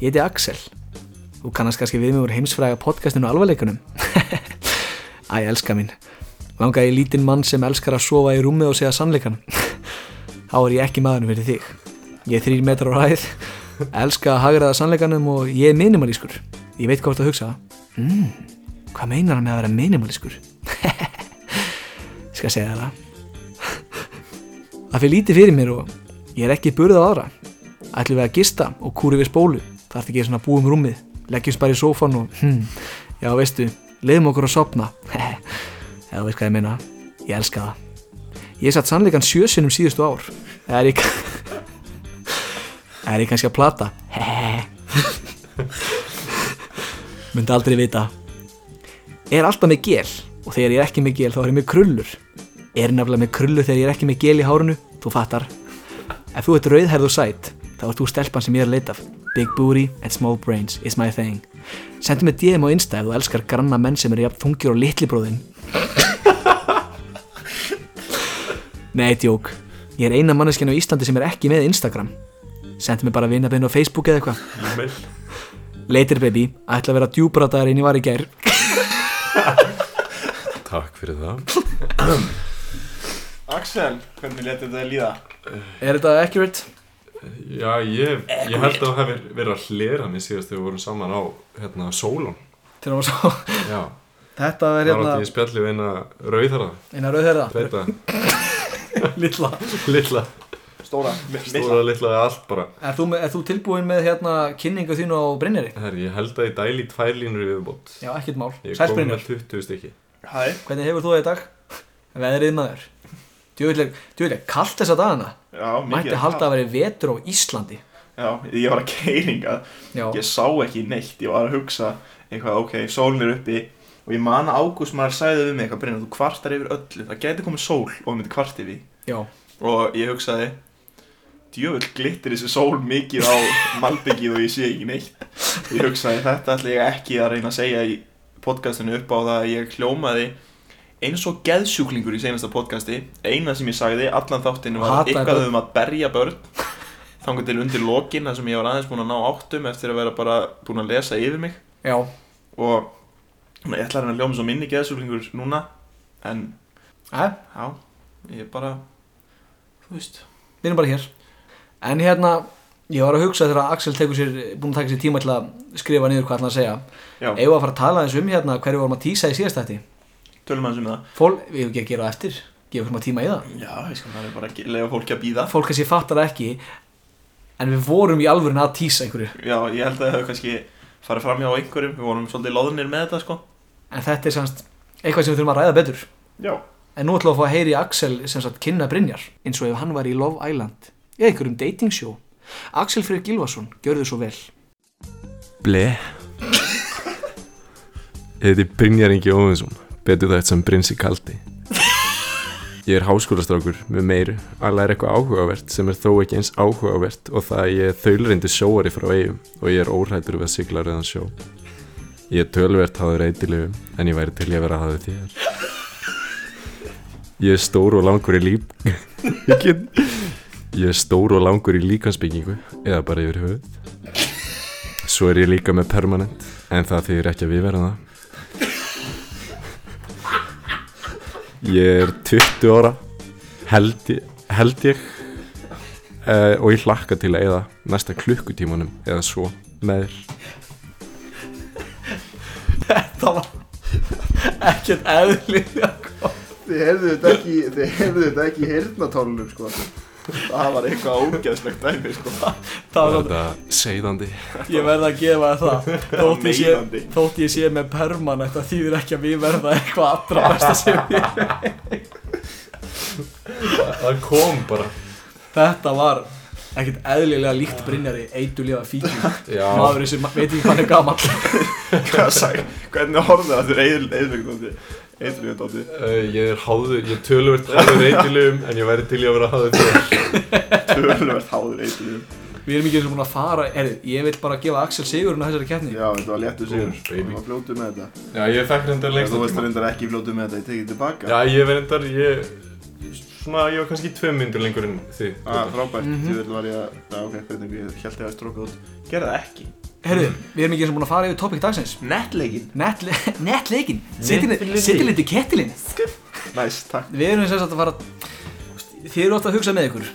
ég heiti Axel. Þú kannast kannski við mig úr heimsfræga podcastinu alvarleikunum. Æ, elska mín. Langaði ég lítinn mann sem elskar að sofa í rúmið og segja sannleikan. Þá er ég ekki maðurinn fyrir þig. Ég er þrýr metrar á hæð, elska að hagraða sannleikanum og ég er minimalískur. Ég veit hvað þú ert að hugsa. Mm, hvað meinar hann með að vera minimalískur? ég skal segja þér það. Það fyrir lítið fyrir mér og ég er ekki burð á aðra. Ætlum við að gista og kúri við spólu. Það ert ekki svona að búa um rúmið. Leggjumst bara í sófan og hm, já veistu, leiðum okkur að sopna. Eða þú veist hvað ég meina. Ég elska það. Ég satt sannleikan sjösunum síðustu ár. Það er ég... Það er ég kannski að plata. Myndi aldrei vita. Er alltaf með gel og þegar ég er ekki með gel þá er ég með krullur. Er nefnilega með krullur þegar ég er ekki með gel í hárinu, þú fattar. Ef þú ert rauðherð og sæt, þá ert þú stelpan sem ég er að leita af. Big booty and small brains is my thing. Sendu mig DM á Insta ef þú elskar granna menn sem eru jafn þungir og litli bróðinn. Nei, djók. Ég er eina manneskjan á Íslandi sem er ekki með Instagram. Sendu mig bara vinabinn á Facebook eða eitthvað.
e-mail
Later baby, ætla að vera djúbrataðar en ég var í gær.
Takk fyrir það
Axel, hvernig letur þetta líða?
Er þetta accurate?
Já, ég, ég held að það hefur verið að hlera mér síðast þegar við vorum saman á hérna, Sólon
Til að svo.
Já,
Þetta
það
er
var
hérna
átti ég spjalli við eina rauðara
eina rauðherða,
Þetta,
lilla.
litla,
Stóra, mi-
stóra, litla eða allt bara
Er þú, með- er þú tilbúin með hérna kynningu þínu á Brynjari?
Herri, ég held að ég dæli í tvær línur í viðbót
Já, ekkert mál.
Ég
Sæl
kom
Brynjar.
með 20 stykki
Hæ,
Hvernig hefur þú það í dag? Veðrið maður Djúvileg, djúvileg, kallt þessa dagana
já, mikið
Mætti halda að vera vetur á Íslandi
Já, ég var að keiringa
Já,
Ég sá ekki neitt, ég var að hugsa eitthvað, ok, sólin er uppi og ég man að Ágúst maður sagði við mig eitthvað Brynja, þú kvartar yfir öllu, það gæti komið sól og við myndi kvart yfir því.
já
og ég hugsaði djöfull glittir þessi sól mikið á malbyggið og ég sé ekki neitt ég hugsaði þetta ætla ég ekki að reyna að segja í podcastinu upp á það að ég hljómaði eins og geðsjúklingur í senasta podcasti eina sem ég sagði allan þáttinu var
Hataði
eitthvað
börn.
um að berja börn þangur til undir lokin þar sem ég var aðeins búin að ná áttum eftir að vera bara búin að lesa yfir mig
Já,
og ég ætla að reyna að hljóma svo minni geðsjúklingur núna en
Æ,
já, ég er bara þú veist
við erum bara hér En hérna, Ég var að hugsa þegar Axel tekur sér, búin að taka sér tíma til að skrifa niður hvað hann að segja.
Já.
Eigum við að fara að tala eins um hérna hverju vorum að tísa í síðast þætti.
Tölum aðeins um það
Fól, við hefum ekki að gera það eftir, gefum fyrir tíma í það.
Já, ég sko, það er bara að lega fólki að býða
Fólk kannski fattar það ekki, en við vorum í alvörin að tísa einhverju.
Já, ég held að það hefur kannski farið fram hjá einhverjum Við vorum svolítið loðnir með þetta, sko
En þetta er semst eitthvað sem við þurfum að ræða betur.
Já
En nú ætlum við að fá að heyri Axel sem sagt kynna Brynjar, eins og ef hann var í Love Island, eða einhverjum dating show. Axel Freyr Gilvason, gjörðu svo vel.
Ble Ég heiti Brynjar Ingi Óvinsson betur það sem Brynsi Kaldi Ég er háskólastrákur með meiru að læra eitthvað áhugavert sem er þó ekki eins áhugavert og það að ég er þaulreindi sjóari frá eigum og ég er óhrættur við að sigla rauðan sjó Ég er tölvert hafður eitilegu en ég væri til ég vera hafður þér Ég er stór og langur í líf Ég get Ég er stór og langur í líkansbyggingu eða bara yfir höfuð Svo er ég líka með permanent En það þýðir ekki að við verðum það Ég er 20 ára Held ég, held ég uh, Og ég hlakka til að eða Næsta klukkutímanum Eða svo með þér
Þetta var ekkert eðlilega
Þið heyrðu þetta ekki, þið heyrðu þetta ekki í heyrnatólunum sko.
Það var eitthvað ógeðslegt dæmi, sko
Það var
Þetta seiðandi
Ég verða að gefa þér það þótt ég, sé,
Meinandi.
þótt ég sé með permanent það þýðir ekki að við verða eitthvað allra besta sem við
Það kom bara
Þetta var ekkert eðlilega líkt Brynjari eitulega fíkjum
Já,
maðurinn sem veit ekki hvað hann er gammal
Hvað sagði, hvernig horfðu það þurr eðlugdótti Eðlugdótti
uh, ég er háður Ég tölvöld háður reytilegum En ég væri til ég að vera háður þér
Tölvert háður eðlugdótti
Við erum ekki eins og búin að fara er, Ég vil bara gefa Axel Sigurinn á þessari keppni
Já, þetta var léttu sigur
Ó,
Við
baby.
var fljótu með þetta
Já, ég fekk reyndar
Þú
lengst
veist reyndar ekki fljótu með þetta, ég tekið tilbaka
Já, ég verði endar, ég, svona, ég var kannski tvei myndur lengur en þið.
ah, Frábært, mm
Mhm.
-hmm. var ég að, já ok, hvernig ég held ég að stróka út
Gerða það ekki
Herðu, við erum ekki eins og búin að fara yfir topic dagsins
Nettleikin
Netle Netleikin Sittilindi kettilinn
Næs, takk
Við erum sem sagt að fara Þið eru ofta að hugsa með ykkur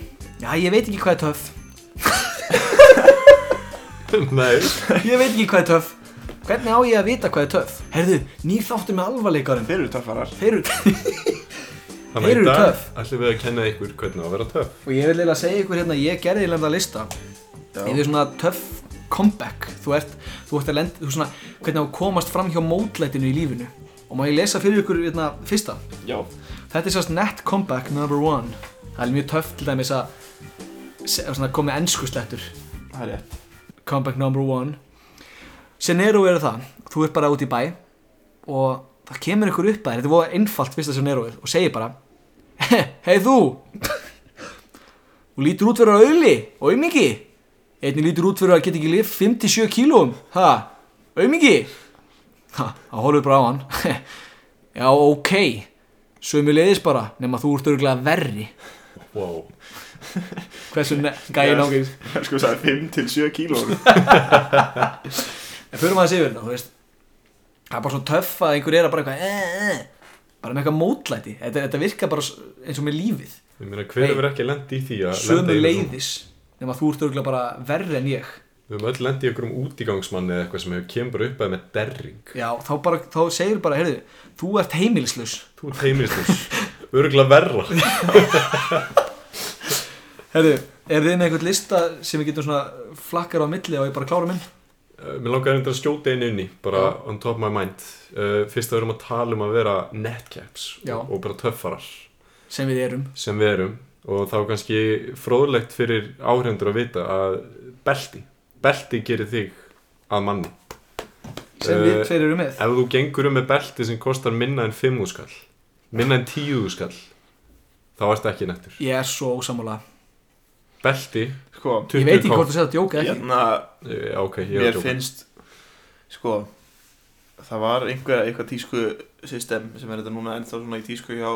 Já, ég veit ekki hvað er töff
Nei.
Ég veit ekki hvað er töff Hvernig á ég að vita hvað er töff? Herðu, nýr þáttur með alvarleikarinn
Þeir eru töffarar
Þeir eru
Þannig
Þeir eru
í dag
töff.
ætlum við að kenna ykkur hvernig á að vera töff.
Og ég vil eiginlega segja ykkur hérna Ég gerði lenda lista Yfir svona töff comeback Þú ert, þú ert að lenda Þú svona, hvernig á að komast fram hjá mótlætinu í lífinu Og má ég lesa fyrir ykkur hérna fyrsta
Já
Þetta er sérst net comeback number one Það er mjög töff til dæmis að se- svona, Komið enskuslettur
Það er rétt
comeback number one scenario eru það, þú ert bara út í bæ og það kemur ykkur upp að þér þetta er voða einfalt fyrsta scenarioð og segir bara hei þú og lítur út fyrir að auðli og auðmiki einnig lítur út fyrir að geta ekki lif 5-7 kílóum ha, auðmiki ha, þá horfum bara á hann já, ok sömu leiðis bara, nema þú ert örgulega verri
Wow.
hversu ne- gæi nákvæmst
Ég sko sagði 5 til 7 kílórum
En fyrir maður að segja þetta, þú veist Það er bara svona töff að einhver er að bara eitthvað eh, eh, Bara með eitthvað mótlæti Þetta, þetta virkar bara s- eins og með lífið
Ég meina, hver
Nei.
hefur ekki lendið í því að
Sömu
lenda í einhverjum-
leiðis Nefn að þú ert örgulega bara verri en ég
Við höfum öll lendið í okkur um útígangsmanni eða eitthvað sem hefur kemur bara upp að með derring.
Já, þá, bara, þá segir bara, heyrðu Þú ert heimilislaus
Þú teimist þess. Örgulega verra.
Heyrðu, er þið með einhvern lista sem við getum svona flakkar á milli og ég bara klára minn?
Uh, Mér langar reyndar að skjóta einu inn í, bara on top of my mind. Uh, fyrst að við erum að tala um að vera netcaps
Já.
og, og bara töffarar
Sem við erum
sem við erum og þá kannski fróðlegt fyrir áhrendur að vita að belti, belti gerir þig að manni.
Sem við
Eh,
tveir eru með
Ef þú gengur um með belti sem kostar minna en 5 skall Minna en 10 skall Þá ertu ekki nettur
Ég er svo ósammála
Belti
Sko,
20
Ég veit ekki
kall.
hvort þú segir að djóka eða ekki
Hérna,
Eh, Ok, ég er
mér
að djóka.
finnst Sko Það var einhver, eitthvað tísku system sem er þetta núna ennþá svona í tísku hjá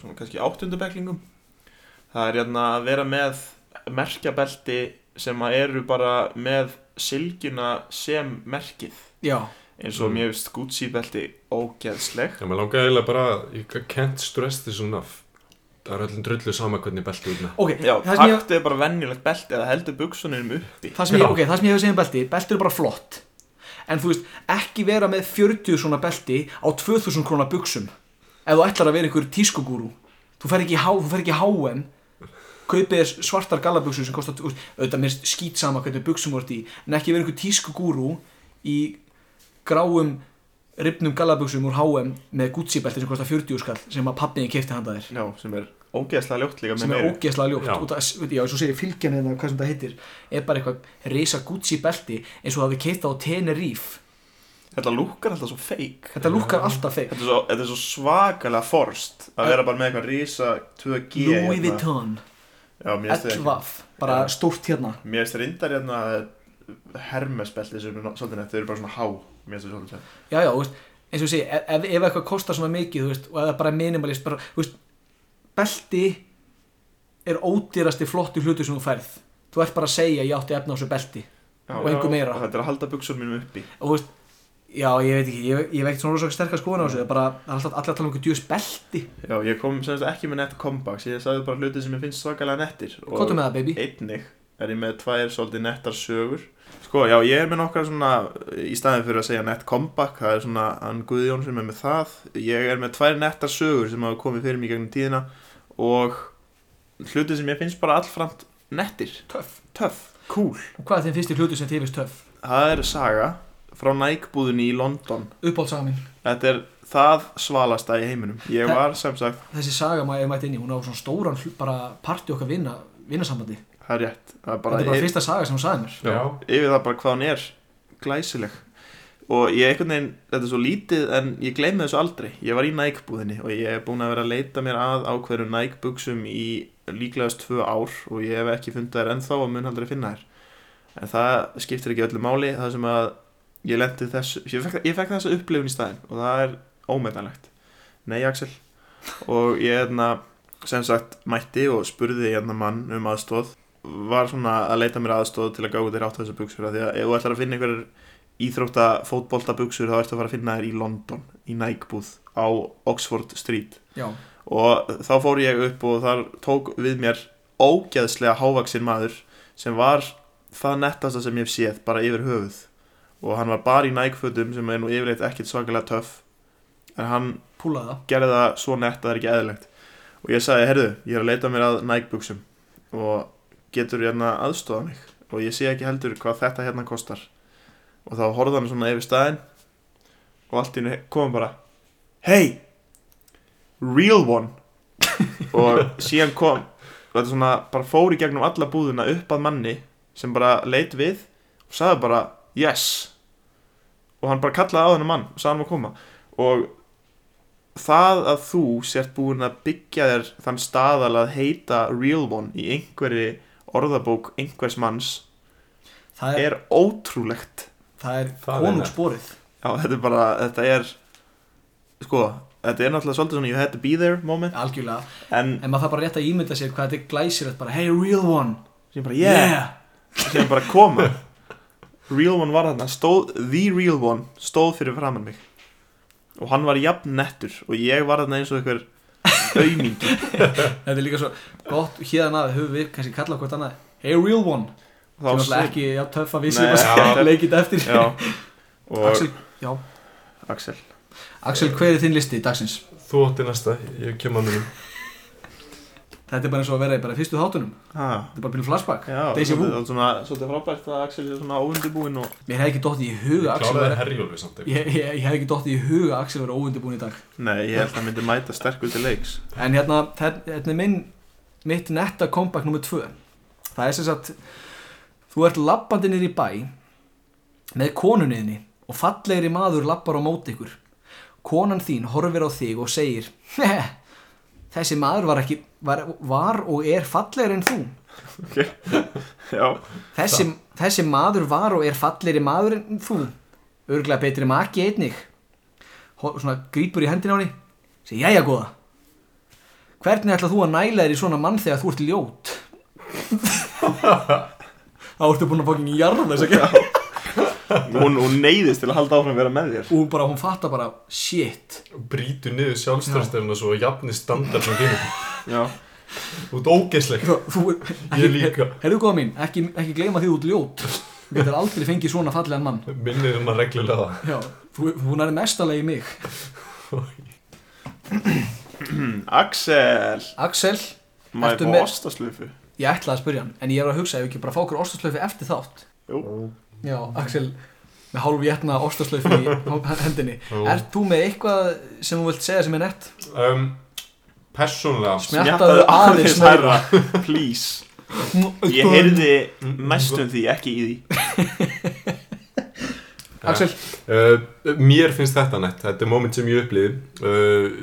svona kannski áttundubeklingum Það er hérna að vera með merkjabelti sem að eru bara með silgjuna sem merkið
Já,
eins og
Mm.
mér finnst Gucci belti ógeðsleg
Já, mér langaði eiginlega bara I can't stress this enough Það er öllum drullu sama hvernig beltu út með
Ok,
Já,
það sem ég
taktu er bara venjulegt belti eða heldur buksunum uppi
það sem ég,
Já.
okay, það sem ég hef segið um belti belti eru bara flott en þú veist, ekki vera með 40 svona belti á 2000 krónar buksum ef þú ætlar að vera einhver tískugúrú þú fer ekki, í H- þú fer ekki í HM kaupið þér svartar gallabuksur sem kostar þú veist, auðvitað mér skýt sama hvernig buksum þú ert í en ekki vera einhver tískugúrú í gráum ripnum gallabuksum úr HM með Gucci belti sem kostar 40 skall sem að pappiðin keipti handa þér
Já, sem er ógeðslega ljótt líka með
sem er
meiru
ógeðslega ljótt
Já.
já. Að, já, svo segir fylgjan hérna hvað sem það heitir er bara eitthvað reysa Gucci belti eins og það við keita á Tenerife
Þetta lúkar alltaf svo feik
þetta lúkkar alltaf þeir
Þetta er svo, þetta er svo svakalega forst að vera bara með eitthvað risa 2G
Louis
hérna.
Vuitton,
Já, mér finnst það ekki.
Elvaf bara
Já.
stórt hérna
Mér finnst reyndar hérna hermesbelti sem er ná- svolítið nett, þau eru bara svona há Mér finnst það svolítið nett.
já, já, þú veist, eins og ég segi, e- ef, ef eitthvað kostar svona mikið, þú veist, og ef það er bara minimalist, bara, þú veist, belti er ódýrasti flottu hlutu sem þú færð. Þú ert bara að segja, ég átti efna á þessu belti.
Já,
Og engu
já,
meira.
og Þetta er að halda buksunum mínum uppi
Og þú veist, já, ég veit ekki, ég, ég veit ekki svona rosa sterkar skoðan á þessu, það er bara, það er alltaf allir að tala um einhver djús belti.
Já, ég kom sem sagt ekki með nett comebacks Ég sagði bara hluti sem ég finnst svakalega nettir og
Kottu með um það, baby.
Einnig er ég með tvær svolítið nettar sögur Sko, já, ég er með nokkar svona Í staðin fyrir að segja nett comeback Það er svona Ann Guðjón sem er með það Ég er með tvær nettar sögur sem hafa komið fyrir mig í gegnum tíðina Og hluti sem ég finnst bara allframt nettir
Töff.
Töff, cool
Og hvað er þinn fyrsti hlutu sem þið finnst töff?
Það er saga frá nækbúðunni í London
Uppáldsaga mín.
Þetta er það svalasta í heiminum Ég var sem sagt,
Þessi saga maður hefur mætt inn í, hún á svona stóran hl- bara parti okkar vinna, vinnasambandi.
það er rétt Það er
Þetta
bara,
er bara fyrsta saga sem hún sagði mér.
Já,
yfir það bara hvað hún er glæsileg og ég einhvern veginn, þetta er svo lítið en ég gleymi þessu aldrei, ég var í nækbúðinni og ég hef búin að vera að leita mér að ákveðru nækbuksum í líklegast tvö ár og ég hef ekki fundið þær ennþá og mun aldrei finna þær en það skiptir ekki öllu máli það sem að ég lendi þessu ég fekk, ég fekk þessa upplifun í staðinn og það er ómetanlegt nei Axel og ég hérna sem sagt mætti og spurði hérna mann um aðstóð var svona að leita mér aðstóð til að gá þér átt þessu buksur af því að ef þú ætlar að finna einhver íþrótta fótbolta buksur þá ertu að fara að finna þér í London í Nike-búð á Oxford Street
Já.
og þá fór ég upp og þar tók við mér ógeðslega hávaksin maður sem var það nettasta sem ég hef séð bara yfir höfuð og hann var bara í Nike-fötum sem er nú yfirleitt ekkit svakalega töff en hann
Púlaði það.
gerði það svo nett að það er ekki eðlilegt og ég sagði, herðu, ég er að leita mér að nækbuksum og getur hérna aðstofa mig og ég sé ekki heldur hvað þetta hérna kostar og þá horfði hann svona yfir staðinn og allt í henni kom bara hey, real one og síðan kom og þetta svona bara fór í gegnum alla búðuna upp að manni sem bara leit við og sagði bara yes og hann bara kallaði á þennan mann og sagði hann að koma og það að þú sért búin að byggja þér þann staðal að heita real one í einhverri orðabók einhvers manns
Það er,
er ótrúlegt
það er
Það er
konungsborið.
já þetta er bara, þetta er sko, þetta er náttúrulega svolítið svona you had to be there moment
Algjörlega.
en
En maður þarf bara rétt að ímynda sér hvað þetta er glæsilegt bara, hey real one,
sem bara yeah, sem bara koma real one var þarna, stóð the real one stóð fyrir framann mig og hann var jafn nettur og ég var þarna eins og einhver aumingi
Þetta er líka svo gott, hérna höfum við kannski kallað hvort annað, hey real one, sem er alltaf ekki já, töff að vissi
Nei,
bara
já.
leikið eftir.
já, og
Axel, já,
Axel.
Axel, hver er þinn listi dagsins?
þú átti næsta, ég kem að mínum
Þetta er bara eins og að vera í bara fyrstu þáttunum,
Ah,
þetta er bara byrjum flashback.
já,
Deja vu.
svolítið- það er svona, svolítið frábært að Axel er svona óundibúinn og
Mér hef ekki dottið í huga Axel vera,
Herjólfi samt
ég, ég, ég hef ekki dottið í huga Axel vera óundibúin í dag.
Nei, ég held að hann myndi mæta sterkur til leiks
En hérna, þe- þetta er minn, mitt netta comeback nummer tvö. Það er sem sagt, þú ert labbandi niður í bæ með konunniðni og fallegri maður labbar á móti ykkur. Konan þín horfir á þig og segir, þessi maður var, ekki, var, var og er fallegri en þú.
Já,
Þessi, þessi maður var og er fallegri maður en þú. Örglega betri maki einnig. Hó, svona grýpur í hendina á henni. Segir, jæja góða. Hvernig ætlað þú að næla þér í svona mann þegar þú ert ljót? Þá ertu búin að fokkin jarða þess að gera.
hún, hún neyðist til að halda áfram að vera með þér
og bara hún fattar bara shit
Brítur eh, niður sjálfstörstefna svo að jafni standard sem kemur
Já.
Þú ert ógeðsleg
þú, þú-
Ég líka
herðu góða mín, ekki, ekki gleyma því þú ert ljót þú getur aldrei fengið svona fallegan mann
Minnir um að reglulega
já, þú, hún er mestalegi mig
Axel,
Axel, Ertu
maður
með-
búið ostaslöfu
ég ætlaði að spyrja hann en ég er að hugsa ef við ekki bara fá okkur ostaslöfi eftir þátt
Jú.
já, Axel með hálf jætna ostaslöfi í hendinni
Jú.
er þú með eitthvað sem þú vilt segja sem er nett
um, Persónlega
smjattaðu aðeins meira
please Ég heyrði mestum því ekki í því
Axel,
Uh, mér finnst þetta nett, þetta er moment sem ég upplýði uh,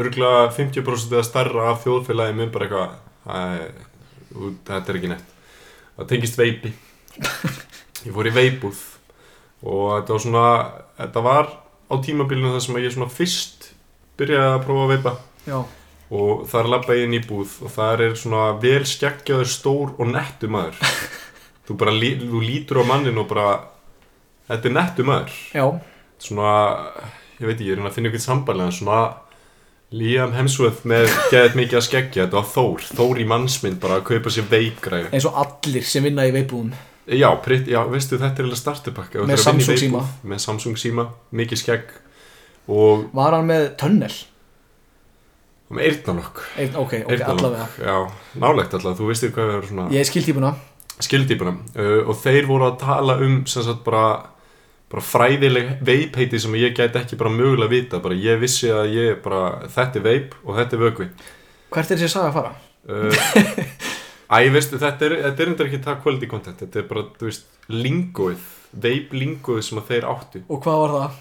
örgulega 50% eða starra af þjóðfélagi minn bara eitthvað "Æ, ú, þetta er ekki nett það tengist veipi ég fór í veipúð og þetta var svona þetta var á tímabilinu þar sem ég svona fyrst byrjaði að prófa að veipa
já,
og þar labba ég inn í búð og þar er svona vel skeggjaður stór og nettu maður þú bara lí, þú lítur á mannin og bara þetta er nettu maður
já
svona, ég veit ekki, ég er að reyna að finna ykkur sambarlega, svona Liam Hemsworth með geðið mikið að skeggja þetta var Þór, Þór í mannsmynd bara að kaupa sér veikgræðu
eins og allir sem vinna í veipbúðum
já, pritt, já, veistu, þetta er eða startupakka
Með Samsung síma.
með Samsung síma, mikið skegg og
var hann með tönnel
og með eyrnalokk
Einn- ok, ok,
Eyrnalokk,
allavega
já, nálegt allavega, þú veistir hvað er svona
ég er skiltípuna
skildýpunum uh, og þeir voru að tala um sem sagt bara, bara fræðileg veipheiti sem ég gæti ekki bara mögulega vita bara ég vissi að ég bara þetta er veip og þetta er vökvi
hvert er þessi saga að fara?
uh, Æ, veistu, þetta er þetta er endur ekki það quality content þetta er bara, þú veist, lingóið veip lingóið sem að þeir áttu
og hvað var það?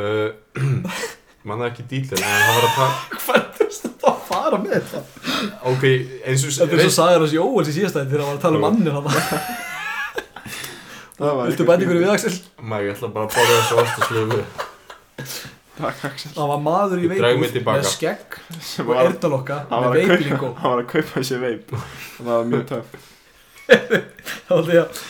uh, mann það ekki dýtlega en það var að tala
hvert er þetta að fara með þetta?
ok, eins og
þetta er svo saga hans Jóels í síðastæðin þegar hann var að tala um mannir hann
Það var
viltu
eitthvað
bæta ykkur við Axel?
maður, ég ætla bara að borða þessu ástaslöfu
Takk Axel
það var maður í
Ég dreg mig
veipbúð
tilbaka.
með skegg
Sem
og
var-
erðalokka með
Hann var að kaupa-
veiplingo
hann var að kaupa sér veip Það var mjög töff
þá held ég að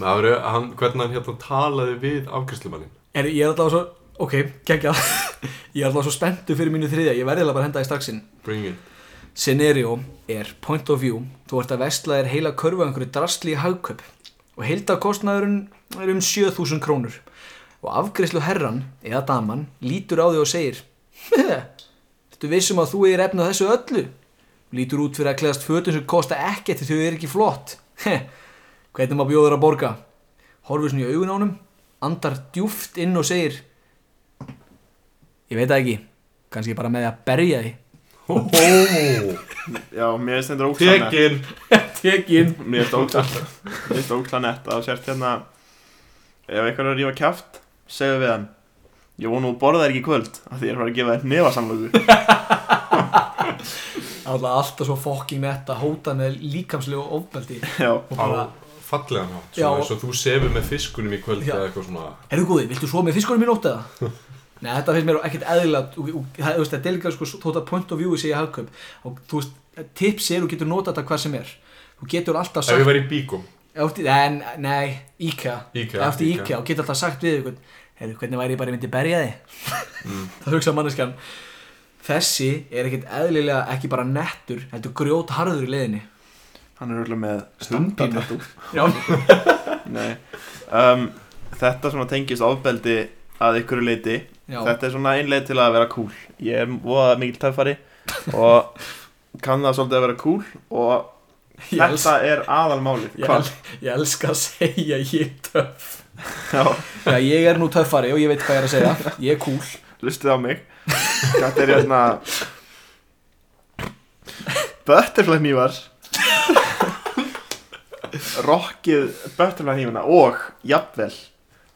maður, hann, hvernig hann hérna talaði við afgriðslumannin
er, ég er alltaf svo ok, geggja ég er alltaf svo spenntu fyrir mínu þriðja ég verði eiginlega bara að henda í straxinn
bring it
Scenario er point of view, þú ert að vesla þér heila körfu af einhverju drastli í hagkaup og heildakostnaðurinn er um 7000 krónur og afgriðslu herran eða daman lítur á því og segir Þetta vissum um að þú er efna þessu öllu Lítur út fyrir að kleðast fötum sem kosta ekkert því þau er ekki flott Heh, Hvernig maður bjóður að borga? Horfur svona í augun á honum, andar djúft inn og segir Ég veit það ekki, kannski bara með því að berja því
Oh,
Já, mér finnst þetta ókslega nett
tekin
Tekin
Mér finnst ókslega- mér finnst ókslega nett að þú sért hérna Ef einhver er að rífa kjaft, segðu við hann Ég vona þú borðar ekki í kvöld af Því ég er að fara að gefa þér nefasamlöku
Alltaf alltaf svo fokking nett að hóta með líkamslegu ofbeldi
Já,
og bara,
á fallegan hátt
Já.
svona eins og þú sefur með fiskunum í kvöld
Já.
eða eitthvað svona
eru góði, viltu svo með fiskunum í nótt eða? Nei, þetta finnst mér ekkert eðlilega og- og- það þú veist, þetta er líka sko þótt að point of view sé í hagkaup og þú veist, tips er þú getur notað þetta hvað sem er þú getur alltaf
ef ég
sagt
væri í bíkum
ef, þú- en, nei, IKEA
Íka,
eftir IKEA og geta alltaf sagt við ykkur heyrðu, hvernig væri ég bara myndi berja þig
Mm.
það hugsa manneskjan þessi er ekkert eðlilega ekki bara nettur, heldur grjót harður í leiðinni
hann er örugglega með hundatatú
já,
Nei um, Þetta svona tengist ofbeldi að ykkur leiti
já,
Þetta er svona einlega til að vera cool Ég er voða mikil töffari Og kann það svolítið að vera cool Og
Ég els-
þetta er aðalmálið
Ég,
Hvað?
el, ég elska að segja ég er töff
Já,
Já, ég er nú töffari og ég veit hvað ég er að segja Ég er cool
lustið á mig Þetta er hérna Butterfly nývar Rokkið Butterfly nýfuna og Jafnvel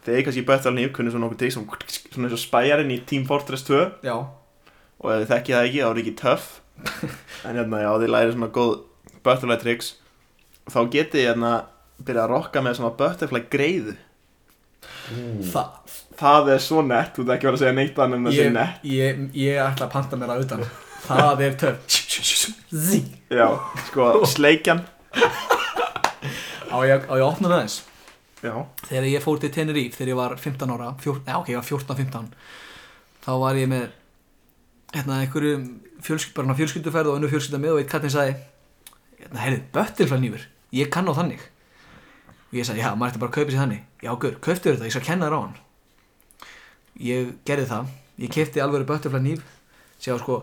Þegar ég kannski Butterfly nýf kunni svona okkur trikk sem- Svona eins og spæjarinn í Team Fortress 2
Já,
og ef þið þekkið það ekki þá er ekki töff en hérna já þið læri svona góð butterfly tricks þá getið þið hérna byrja að rokka með svona butterfly greiðu
Mm. það
það er svo nett, þú ert ekki verið að segja neitt annað en það sé
ég,
nett
ég, ég ætla að panta mér að utan Það er töff Zí
já, sko sleikjan
Á ég, á ég að opna það eins
já,
þegar ég fór til Tenerife þegar ég var 15 ára, 14, já ok, ég var 14-15 þá var ég með hérna einhverju fjölskyld, bara svona fjölskylduferð og önnu fjölskylda með og eitt kattinn sagði hérna, heyrðu, böttilflannýfur, ég kann á þannig og ég sagði, já, maður ætti bara að kaupa sér þannig já, gaur, kauptu þetta, ég skal kenna þér á hann ég gerði það ég kefti alveg böttilflannýf sér sko,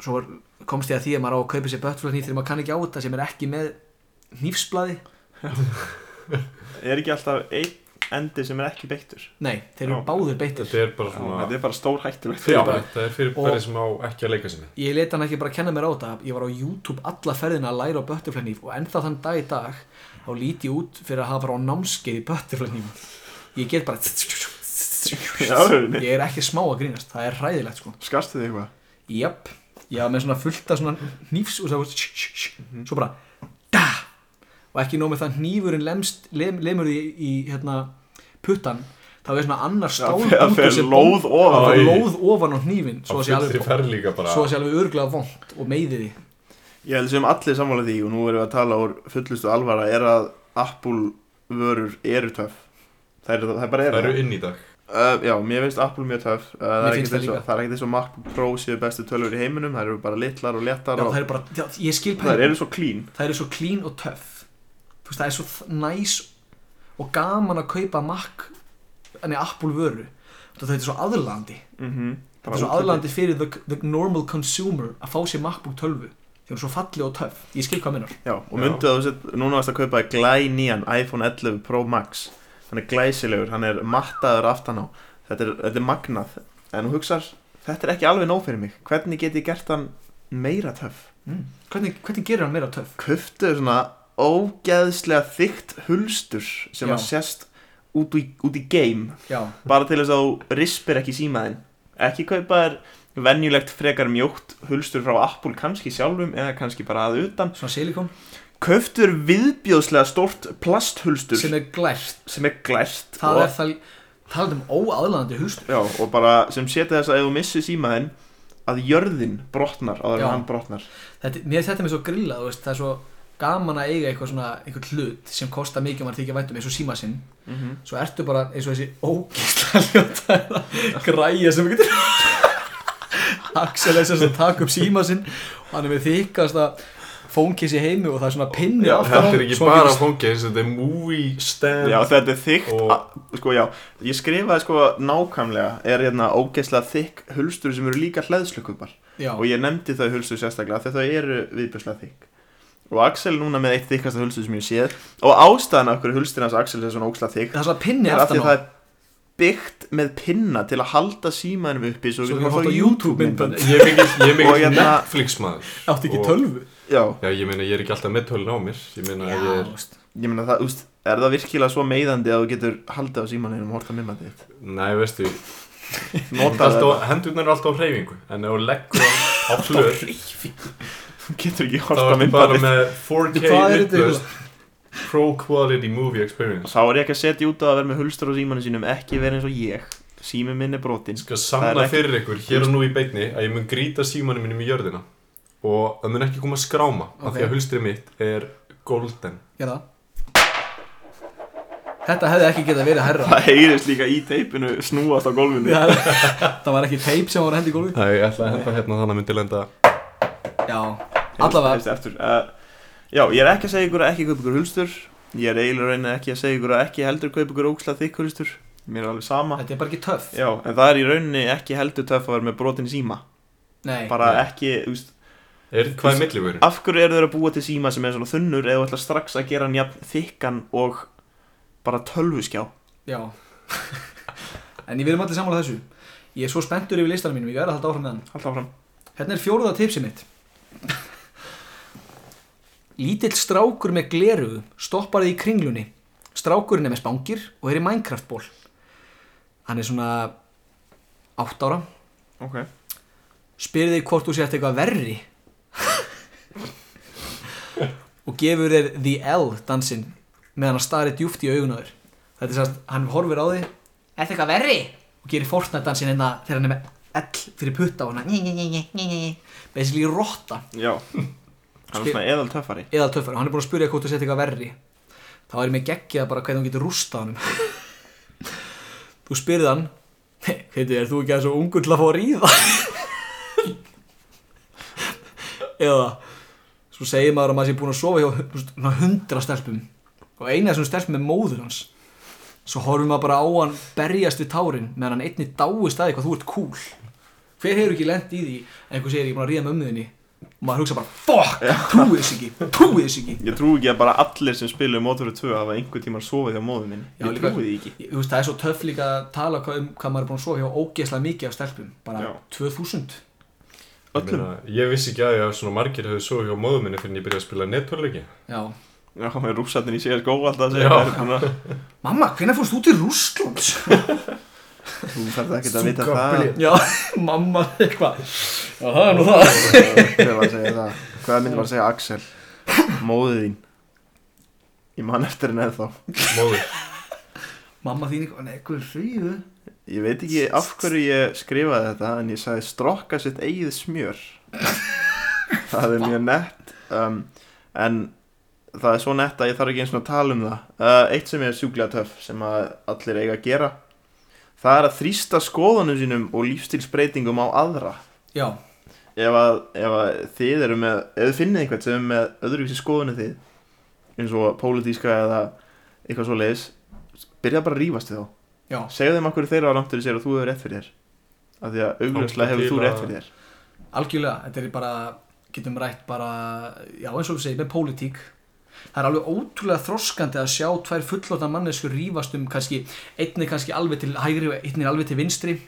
svo var, komst ég að því að maður á að kaupa sér böttilflannýf þegar maður kann ekki á þetta sem er ekki með hnífsblaði
er ekki alltaf einn endi sem er ekki beittur
nei, þeir eru
Já.
báðir beittir
Þetta er bara svona
þetta er bara stór hættulegt
Já.
fyrirbæri, þetta er fyrirbæri sem á ekki að leika sinni
Ég leti hann ekki bara kenna mér á þetta Ég var á YouTube alla ferðina að læra á butterfly nýf og ennþá þann dag í dag þá líti ég út fyrir að hafa verið á námskeið í butterfly nýf Ég get bara
í alvörunni?
Ég er ekki smá að grínast Það er hræðilegt sko
skarstu þig eitthvað
Jöp, ég var með svona fullt af svona nýfs og það
Mhm.
var svo bara da! og ekki nóg með það nýfurinn lemst, lem, lemur því í hérna, puttan þá er svona annar
Já,
stál
það
út úr
fer
sér
lóð
bónd-
ofan.
það fer
Æ.
lóð ofan á hnífin
Á
svo að sé
fullri
alveg
ferð líka bara
svo að sé alveg örglega vond og meiði því
Ég held sem allir sammála því og nú erum við að tala úr fullustu alvara er að Apple vörur eru töff Það er, það er bara
Það
eru
eru
það
inn í dag
uh, Já, mér finnst Apple mjög töff uh, það,
Mér
er
finnst það
ekkert eins og-
líka.
það er ekkert eins og MacBook Pro séu bestu tölvur í heiminum Það eru bara litlar og léttar
Já,
og
það er bara, já, ég skil
það
pælingu
eru svo clean
Það eru svo clean og töff Þú veist, það er svo þ- næs og gaman að kaupa Mac en Apple vöru Það er svo aðlandi
mm -hmm.
Það er svo aðlandi fyrir the, the normal consumer að fá sér MacBook 12 Þau eru svo falli og töff, ég skil hvað minnar
Já, og
Já.
myndu að þú sett, núna varst að kaupa glæ nýjan iPhone 11 Pro Max Hann er glæsilegur, hann er mattaður aftan á Þetta er, þetta er magnað En þú hugsar, þetta er ekki alveg nóg fyrir mig Hvernig get ég gert hann meira töff?
mm. hvernig, hvernig gerir hann meira töff?
köftu svona ógeðslega þygt hulstur sem
Já.
að sést út í, út í game
Já,
bara til þess að þú rispir ekki símaðinn ekki kaupa þér venjulegt frekar mjótt hulstur frá Apple kannski sjálfum eða kannski bara að utan
svona silikon
köftu þér viðbjóðslega stort plasthulstur
sem er glært
sem er glært
Það
og,
er það, talað um óaðlandi hústur
já, og bara sem setja þess að ef þú missir símaðinn að jörðin brotnar áður
Já.
en hann brotnar
þetta, Mér þetta er mér svo grillað, þú veist, það er svo gaman að eiga eitthvað svona, eitthvað hlut sem kostar mikið og maður þykja væntum eins og síma sinn
mm -hmm.
svo ertu bara eins og þessi ógeðslega ljóta græja sem getur Axel er sérst að taka upp síma sinn og hann er með þykast að fónkis í heimi og það er svona pinni
Já,
aftan á,
þetta er ekki
svo hann
bara
getur-
fóngið þetta er movie stand
Já, þetta er þykkt
Ehm, Og-
a- Sko, já, ég skrifaði sko nákvæmlega Er hérna ógeðslega þykk hulstur sem eru líka hleðslukubbar
Já,
Og ég nefndi þau hulstur sérstaklega Þegar þau eru viðbjörslega þykk Og Axel núna með eitt þykkasta hulstur sem ég séð Og ástæðan af hverju hulstur hans Axel er svona ógeðslega þykk
það er svona pinni
Er af
aftan
því að
á
það er byggt með pinna Til að halda símanum uppi Svo
Svo
við
við horft
horfa
á YouTube
YouTube-myndband
myndband
Ég er mikill, ég er
Og
mikill
hérna-
Netflix maður
Áttu ekki tölvu
Já,
Já, ég meina, ég er ekki alltaf með tölun á mér Ég meina,
Já,
ég
þú
er,
veist.
ég meina það, úst, er það virkilega svo meiðandi Að þú getur haldið á símanum og horta myndbandið þitt?
næ, veistu
Notaðu þetta.
alltaf, Hendurnar eru alltaf á hreyfingu En ef þú leggur á flöð
Þú getur ekki
Þá
horta
ertu bara
myndbandið
með
Hvað
4K
er þetta?
vittlust Pro quality movie experience
Þá er ég ekki að setja út á að vera með hulstur á símanum sínum ekki vera eins og ég Sími minn er brotinn sko.
Ég skal
Það
Sko,
er
sanna
ekki-
fyrir ykkur hér og nú í beinni að ég mun grýta símanum mínum í jörðina og það mun ekki koma skráma af
Ok.
því að hulstrið mitt er golden
Gerða Þetta hefði ekki getað verið herra
Það heyrist líka í teipinu snúast á gólfinu
Það það var ekki teip sem var hendi í gólfi
Það ég ætla að henda hérna þannig að myndi lenda
Já, allavega
Heyrist eftir, uh, Já, ég er ekki að segja ykkur að ekki kaupa ykkur hulstur Ég er eiginlega reyna ekki að segja ykkur að ekki heldur kaupa ykkur óksla þykk hulstur Mér er alveg sama
Þetta er bara ekki töff
Já, en það er í rauninni ekki heldur töff að vera með brotin síma
Nei,
Bara
Nei.
ekki, þú veist
er, Hvað er millivörin?
Af hverju eru þeir að búa til síma sem er svona þunnur eða þú ætlar strax að gera hann jafn þykkan og bara tölvuskjá
Já En ég verðum allir sammála þessu Ég er svo spenntur yfir listanum mínum, ég verð að halda áfram með hann
Alltaf fram
Hérna er fjóruða tipsið mitt Lítill strákur með gleruðu stoppar þið í kringlunni Strákurinn er með spangir og er í Minecraft-ból Hann er svona 8 ára
okay.
spyrir þig hvort þú sért eitthvað verri og gefur þér the L dansinn meðan hann starir djúft í augun á þér þetta er sérst, hann horfir á þig Er þetta eitthvað verri? og gerir Fortnite dansinn hérna þegar hann er með L fyrir putta og hann basically rotta
Já Hann er
Spil-
svona eðal töffari
eða töffari, hann er búin að spyrja hvort þú sért eitthvað verri þá er ég með geggjað bara hvernig hún getur rústað honum þú spyrði hann heiti, er þú ekki að svo ungur til að fá að ríða eða svo segir maður að maður sé búin að sofa hjá þú veist, svona hundra stelpum og eina þessum stelpum er móður hans svo horfum maður bara á hann berjast við tárin meðan hann einni dáist að því hvað þú ert cool hver hefur ekki lent í því að einhver segir ég er búin að ríða með ömmuðinni og maður hugsa bara fuck, trúið þess ekki trúið þess ekki
Ég trúi ekki að bara allir sem spiluðu Motorhead 2 hafa einhver tíma sofið hjá móðu minn
Já,
Ég
líka-
trúi því ekki
Ég- þú veist, það er svo töff líka að tala hvað, um hvað maður er búin að sofa hjá ógeðslega mikið af stelpum bara
Já.
2000
Ég, meina, ég vissi ekki að ég að svona margir hefðu sofið hjá móðum minni fyrir en ég byrjaði að spila nettorleiki.
já.
Já, með rússatnir í CSGO alltaf að segja
Já.
þær, svona,
mamma, hvenær fórst þú til Rússlands?
Þú þarf ekki að vita það
já, mamma eitthvað já, það er nú það
Hver var að segja það? Hvað myndi var að segja Axel? Móðu þín Ég man eftir henni eða þá
Móður.
mamma þín eitthvað, nei, hvað er hrýðu?
Ég veit ekki af hverju ég skrifaði þetta En ég sagði strokka sitt eigið smjör Það er mjög nett um, En það er svo nett að ég þarf ekki eins og að tala um það uh, Eitt sem er sjúklega töff Sem að allir eiga að gera Það er að þrýsta skoðunum sínum Og lífstilsbreytingum á aðra
já,
ef að, ef að þið eru með ef þið finnið einhvern sem er með öðruvísi skoðunni þið eins og pólitíska eða eitthvað svo leiðis byrja bara að rífast við þá
já,
segja þeim okkur þeirra á langtur sér að þú hefur rétt fyrir þér af því að augljóslega
Þangað
hefur
til
þú
að-
rétt fyrir þér
algjörlega þetta er bara, getum rætt bara já, eins og við segjum, með pólitík það er alveg ótrúlega þroskandi að sjá tvær fullotna manneskur rífast um kannski, einni kannski alveg til hægri og einni alveg til vinstri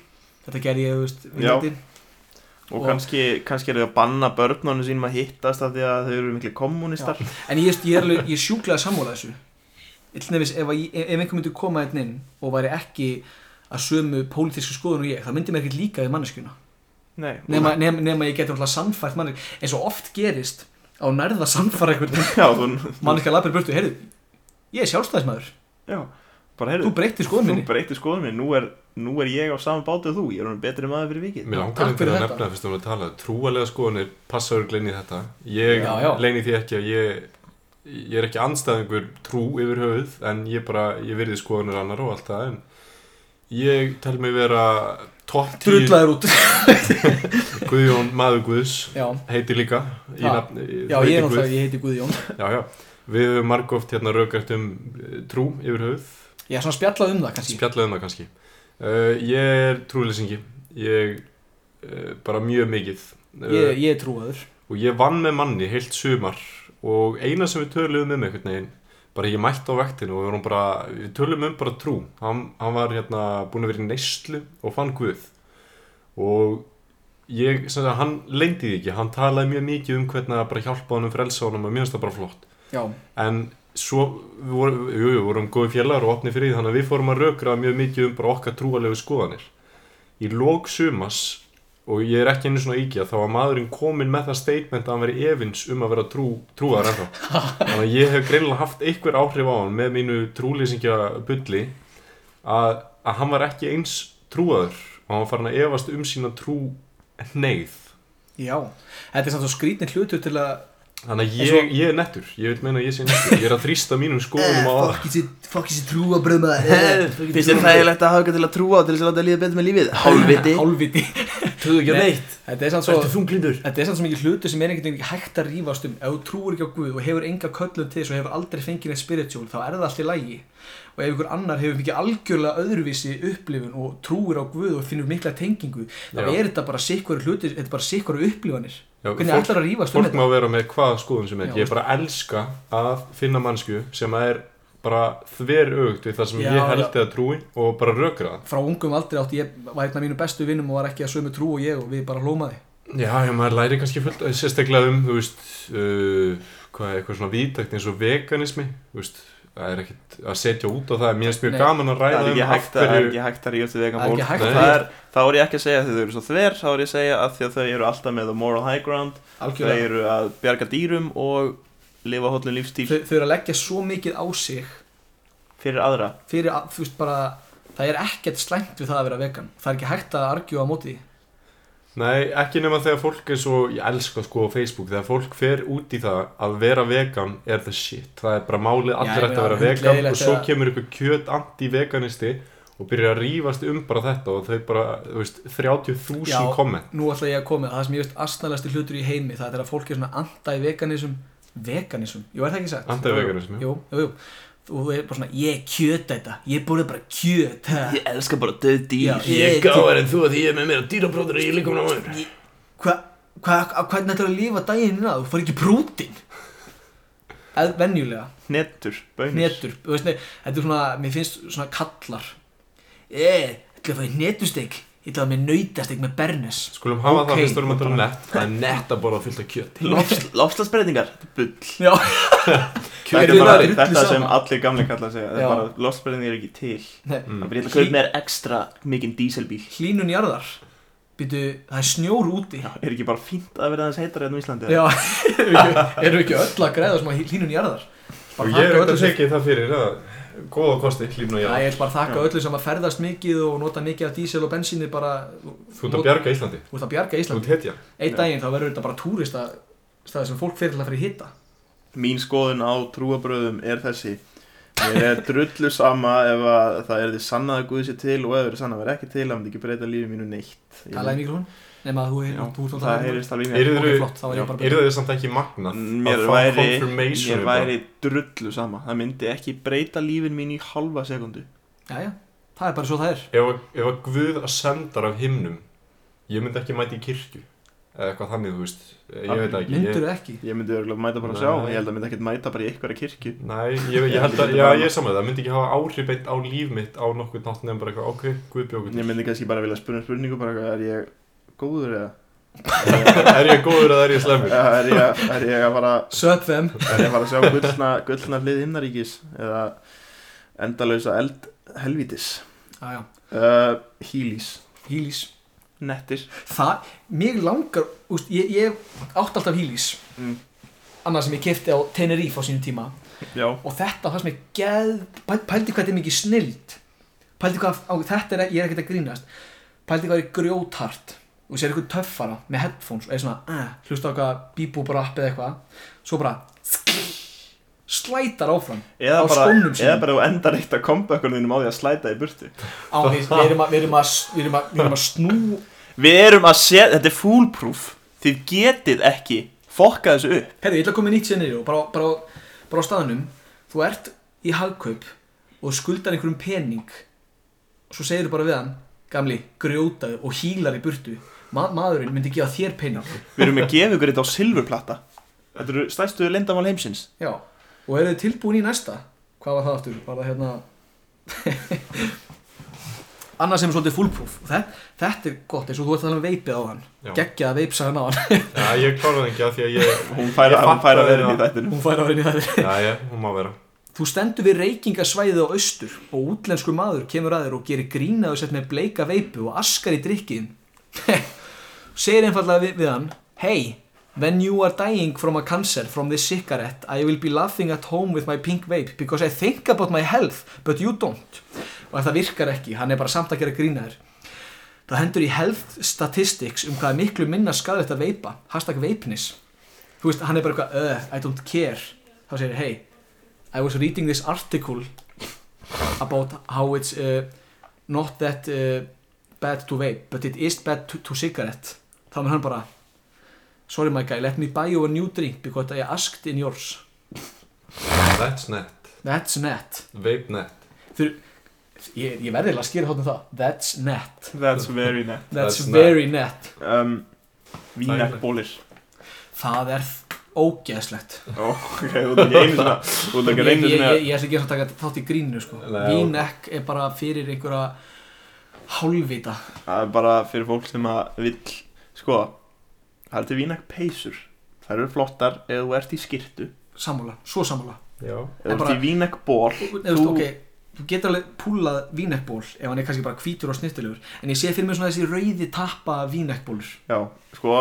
þetta gerði ég, þú veist,
Já.
viljandi.
og,
Og-
kannski, kannski eru þau að banna börnunum sínum að hittast af því að þau eru miklu kommunistar
En ég, ég, er, alveg- ég er sjúklega sammála þessu Illnefis, ef, að ég- ef einhver myndi koma einn inn og væri ekki að sömu pólitísku skoðun og ég, það myndi mér ekkert líka við manneskjuna
Nei,
nema, nema, nema ég geti náttúrulega sannfært manneskjuna eins og oft gerist á nærða sannfæra einhvern
já, þú,
manneskja lapir burtu, heyrðu ég er sjálfstæðismæður,
já, bara heyrðu
þú breytir skoðun minni
þú breytir skoðun minni, nú er, nú er ég á saman bátu og þú, ég er hann betri maður fyrir vikið
Mér
Já,
langar
takk
einhvern
fyrir
að
þetta.
nefna fyrst um að tala Trúalega skoðanir passa örgl inn í þetta Ég
Já, já.
leyni því ekki að ég Ég er ekki anstæðingur trú yfir höfuð En ég bara, ég virði skoðanir annar og allt það En ég tel mig vera Topp 10
drullaður út
Guðjón Maður Guðs
já,
Heiti líka í
Ha.
nafni,
já
heiti
ég, er
Guð.
náttúrulega- ég heiti Guðjón
Já, já Við höfum margóft hérna raukart um eh, trú yfir höfuð
ég er svona spjallað um það kannski
spjalla um það kannski uh, Ég er trúleysingi Ég uh, bara mjög mikið uh,
ég, ég er trúaður
og ég vann með manni heilt sumar og eina sem við töluðum um einhvern veginn bara ég mætti á vektinu og við, vorum bara, við töluðum um bara trú hann, hann var hérna búin að vera í neyslu og fann Guð og ég, sem sagt, hann leyndi því ekki hann talaði mjög mikið um hvernig að bara hjálpa honum frelsa honum og mér finnst það bara flott
já,
en svo við vorum, jú, jú, við vorum góði félagar og opni fyrir því þannig að við fórum að rökra mjög mikið um bara okkar trúalegu skoðanir í lók sumas og ég er ekki einu svona íkja þá var maðurinn kominn með það statement að hann veri efins um að vera trú, trúar ennþá þannig að ég hef greinilega haft einhver áhrif á hann með mínu trúlýsingja bulli að, að hann var ekki eins trúaður og hann var farin að efast um sína trú neyð
já þetta er samt svo skrítni hlutur til að
þannig að
En
ég, ég er nettur, ég vil meina að ég sé nettur ég er að þrýsta mínum skoðunum á aðra
fokkissi trúa bröðma
Finnst þér þægilegt að hafa eitthvað til að trúa og til þess að láta líða betur með lífið? Hálfviti
hálfviti
Trúðu
ekki á neitt. þetta er samt svo
þunglindur
þetta er samt svo mikið hlutu sem er einhvern veginn hægt að rífast um ef þú trúir ekki á Guð og hefur enga köllun til þess og hefur aldrei fengið neitt spiritual þá er það allt í lægi og ef einhver annar hefur mikið algjörlega öðruvísi upplifun og trúir á Guð og finnur mikla tengingu þá
Já.
er þetta bara sikkvaru hluti þetta er bara sikkvaru upplifanir
Já,
hvernig
fólk-
ætlar að rífast um
Fólk má
þetta
vera með hvaða skoðum sem er
Já,
Ég bara elska að finna mannsku sem er bara þver augt við það sem
Já,
ég held
já.
eða trúin og bara rökra
frá ungum aldrei átti ég var einn af mínu bestu vinnum og var ekki að sömu trú og ég og við bara hlómaði
það Já, já, maður læri kannski fullt sérstaklega um, þú veist uh, hvað er eitthvað svona vítækt eins og veganismi þú veist, það er ekkit að setja út á það, mér finnst mjög
Nei.
gaman að
Það
ræða
er ekki
um af
hægt að, það er
hverju
ekki hægt að ríða til vegan
Það er
fólk
ekki hægt
að
Það
rífast.
er- Þá er ég ekki að segja að þau eru svo þver Þá er ég að segja að því að þau eru alltaf með the moral high ground Þau
algjörlega
eru að bjarga dýrum og lifa hóllum lífstíl
þau, þau eru að leggja svo mikið á sig
fyrir aðra
fyrir að, þú veist bara það er ekkert slæmt við það að vera vegan það er ekki hægt að argjúa á móti því.
Nei, ekki nema þegar fólk er svo, ég elska sko á Facebook, þegar fólk fer út í það að vera vegan er the shit. Það er bara málið
ég
allir ætti að
meina,
vera vegan
hundleiðilegt
og svo
þegar-
kemur ykkur kjöt anti-veganisti og byrjar að rífast um bara þetta og þau bara, þú veist, 30.000
Já.
komment.
Nú ætla ég að koma, að það sem ég veist astnalæsti hlutur í heimi, það er þegar fólk er svona anti-veganism, veganism, jú er það ekki sagt?
Anti-veganism, já.
Jú, jú, jú. Þú er bara svona, ég kjöta þetta, ég borði bara kjöt, ha.
Ég elska bara döð
Já,
dýr
ég
en þú að því ég er með mér að dýrabróður og ég líka um náður.
Hva, hva, á hvernig ætlar að lifa daginn innan, þú fari ekki prútin? Eð, venjulega,
Nettur, bönir
hnetur, þú veist, nei, þetta er svona, mér finnst svona kallar. Ég, ætla að fara hnetustek, ég ætla að mér nautasteg með bernes.
Skulum hafa
Ok.
það fyrst vorum að tala um nett. Það er nett að borða fullt af kjöti.
Lofslagsbreytingar, þetta er bull
Já,
Þetta
Kjötið
er bara
er
þetta
drullu
sem
sama.
allir gamlega kallar segja Þetta
Já.
er bara, lofslagsbreytingar er ekki til
nei,
Mm.
Það er bara, Mm. ég ætla að kaupa mér ekstra mikinn díselbíl
hlínun jarðar, býtu, það er snjór úti.
Já, er ekki bara fínt að vera aðeins heitar enn á Íslandi
Já, eru ekki- eru ekki öll að græða sem að hlínun jarðar
Og
Bara
ég er
þakka
auðvitað
öllu sem-
tekið það fyrir að góða kosti hlýfn og
Já,
ég.
ég vil bara þakka öllu sem að ferðast mikið og nota mikið af dísel og bensíni bara
Þú ert að bjarga Íslandi.
Þú ert að bjarga
Þú
Íslandi
ert hetja.
Einn daginn þá verður þetta bara túrista staði sem fólk fyrir til að fyrir hitta
Mín skoðun á trúabröðum er þessi Mér er drullu sama ef að það er því sannað að Guð sé til og ef það er sannað að vera ekki til það myndi ekki breyta lífi mínu neitt Ég-
Talaði mikrofón Nei maður þú
Já,
heyrir þú ert að
Það
tala um-
heyrist alveg í mér
Eru
Ok,
þeir
flott, þá var
já,
ég bara
Eru
betur
þið samt ekki magnað
Mér
að fá
væri,
confirmation
mér
um
væri drullu sama Það myndi ekki breyta lífin mín í halva sekundu
Jæja, það er bara svo það er
það? Ef, ef að Guð að sendar af himnum ég myndi ekki mæti í kirkju eða eitthvað þannig, þú veist ég veit það ekki ég,
Myndur ekki
Ég myndi örgulega mæta bara að sjá
Nei.
Ég held að myndi ekkert mæta bara í einhverja kirkju
Nei, ég, ég held að, já ég er saman það myndi ekki hafa áhrif beitt á líf mitt á nokkuð nátt nefn bara eitthvað, ok, Guð bjókur
Ég myndi kannski bara vilja spurning spurningu bara eitthvað, Er ég góður eða?
Er ég góður eða er ég slemur?
Eða Er ég, er ég að fara
Söp þeim
Er ég að fara að sjá gullna, gullna hlið himnaríkis eða endalösa eld helvítis
Jæja,
uh, Hílís
hýlís
Nettir
Það, mér langar, úst, ég, ég átt alltaf hýlís
Mm.
Annað sem ég kefti á Tenerife á sínum tíma
Já
og þetta var það sem ég geð pæ- pældi hvað þetta er mikið snild pældi hvað, á, þetta er, ég er ekkert að grínast pældi hvað er grjóthart og sér eitthvað töffara með headphones og er svona, eh, hlusta á eitthvað bíbúbrapp eða eitthvað, svo bara slætar áfram
Eða
á
bara,
skónum
eða
sínum
bara þú endar eitt að kompökkunum þínum á því að slæta í burtu
á, við, við, erum að, við, erum að, við, erum að, við erum að snú
Við erum að setja, þetta er foolproof Þið getið ekki fokka þessu upp
herri, ég ætla að koma með nýtt sér niður og bara, bara, bara á staðnum þú ert í hagkaup og skuldar einhverjum pening og svo segir þú bara við hann gamli, grjótaðu og hílar í burtu Ma maðurinn myndi gefa þér pening
Við erum að gefa ykkur þetta á silfurplata Þetta eru stærstu lindamál heimsins
já, og eru þið tilbúin í næsta hvað var það aftur, var það hérna annað sem er svolítið fullproof þetta, þetta er gott, eins og þú ert að tala um veipið á hann
Já.
geggjaða veipsagan á hann
Já, ég kláraði ekki að því að ég
Hún fær,
Ég
hún
fattaði
fær að vera inn í
það.
þættinum
hún fær á henni það
Já, já, hún má vera
Þú stendur við reykingasvæðið á austur og útlensku maður kemur að þér og gerir grínaðu sett með bleika veipu og askar í drikkiðin. Segir einfallega við, við hann, Hey, when you are dying from a cancer from this cigarette, I will be laughing at home with my pink vape because I think about my health, but you don't. Og ef það virkar ekki, hann er bara samt að gera grínaður. Það hendur í health statistics um hvað er miklu minna skadið þetta veipa, hashtag veipnis. Þú veist, hann er bara eitthvað, uh, I don't care. Þá segir, hey, I was reading this article about how it's uh, not that uh, bad to vape, but it is bad to, to cigarette. Þá er hann bara, sorry my guy, let me buy you a new drink because I asked in yours.
That's net,
That's net.
vape net
Fyrir, ég, ég verði eiginlega að skýra hóttum það. That's net.
That's very net
That's,
That's
very net.
um, Vínakbólir
Það er ógeðslegt.
Ó, ok, þú ert ekki einu svona Þú ert
Ég,
ekki
ég,
einu svona
ég, ég ætla ekki að taka þátt í gríninu sko.
Nei, ok.
Vínek er bara fyrir einhverja hálfvita.
Það er bara fyrir fólk sem að vill Sko, það er til vínak peysur Það eru flottar eða þú ert í skirtu
Sammála, svo sammála.
Já,
Eða
En
þú ert
bara-
í vínak ból
Nei, þú veist,
Þú-
ok, þú getur alveg púlað vínekkból ef hann er kannski bara hvítur og snittilegur en ég sé fyrir mér svona þessi rauði tappa vínekkbólur
Já, sko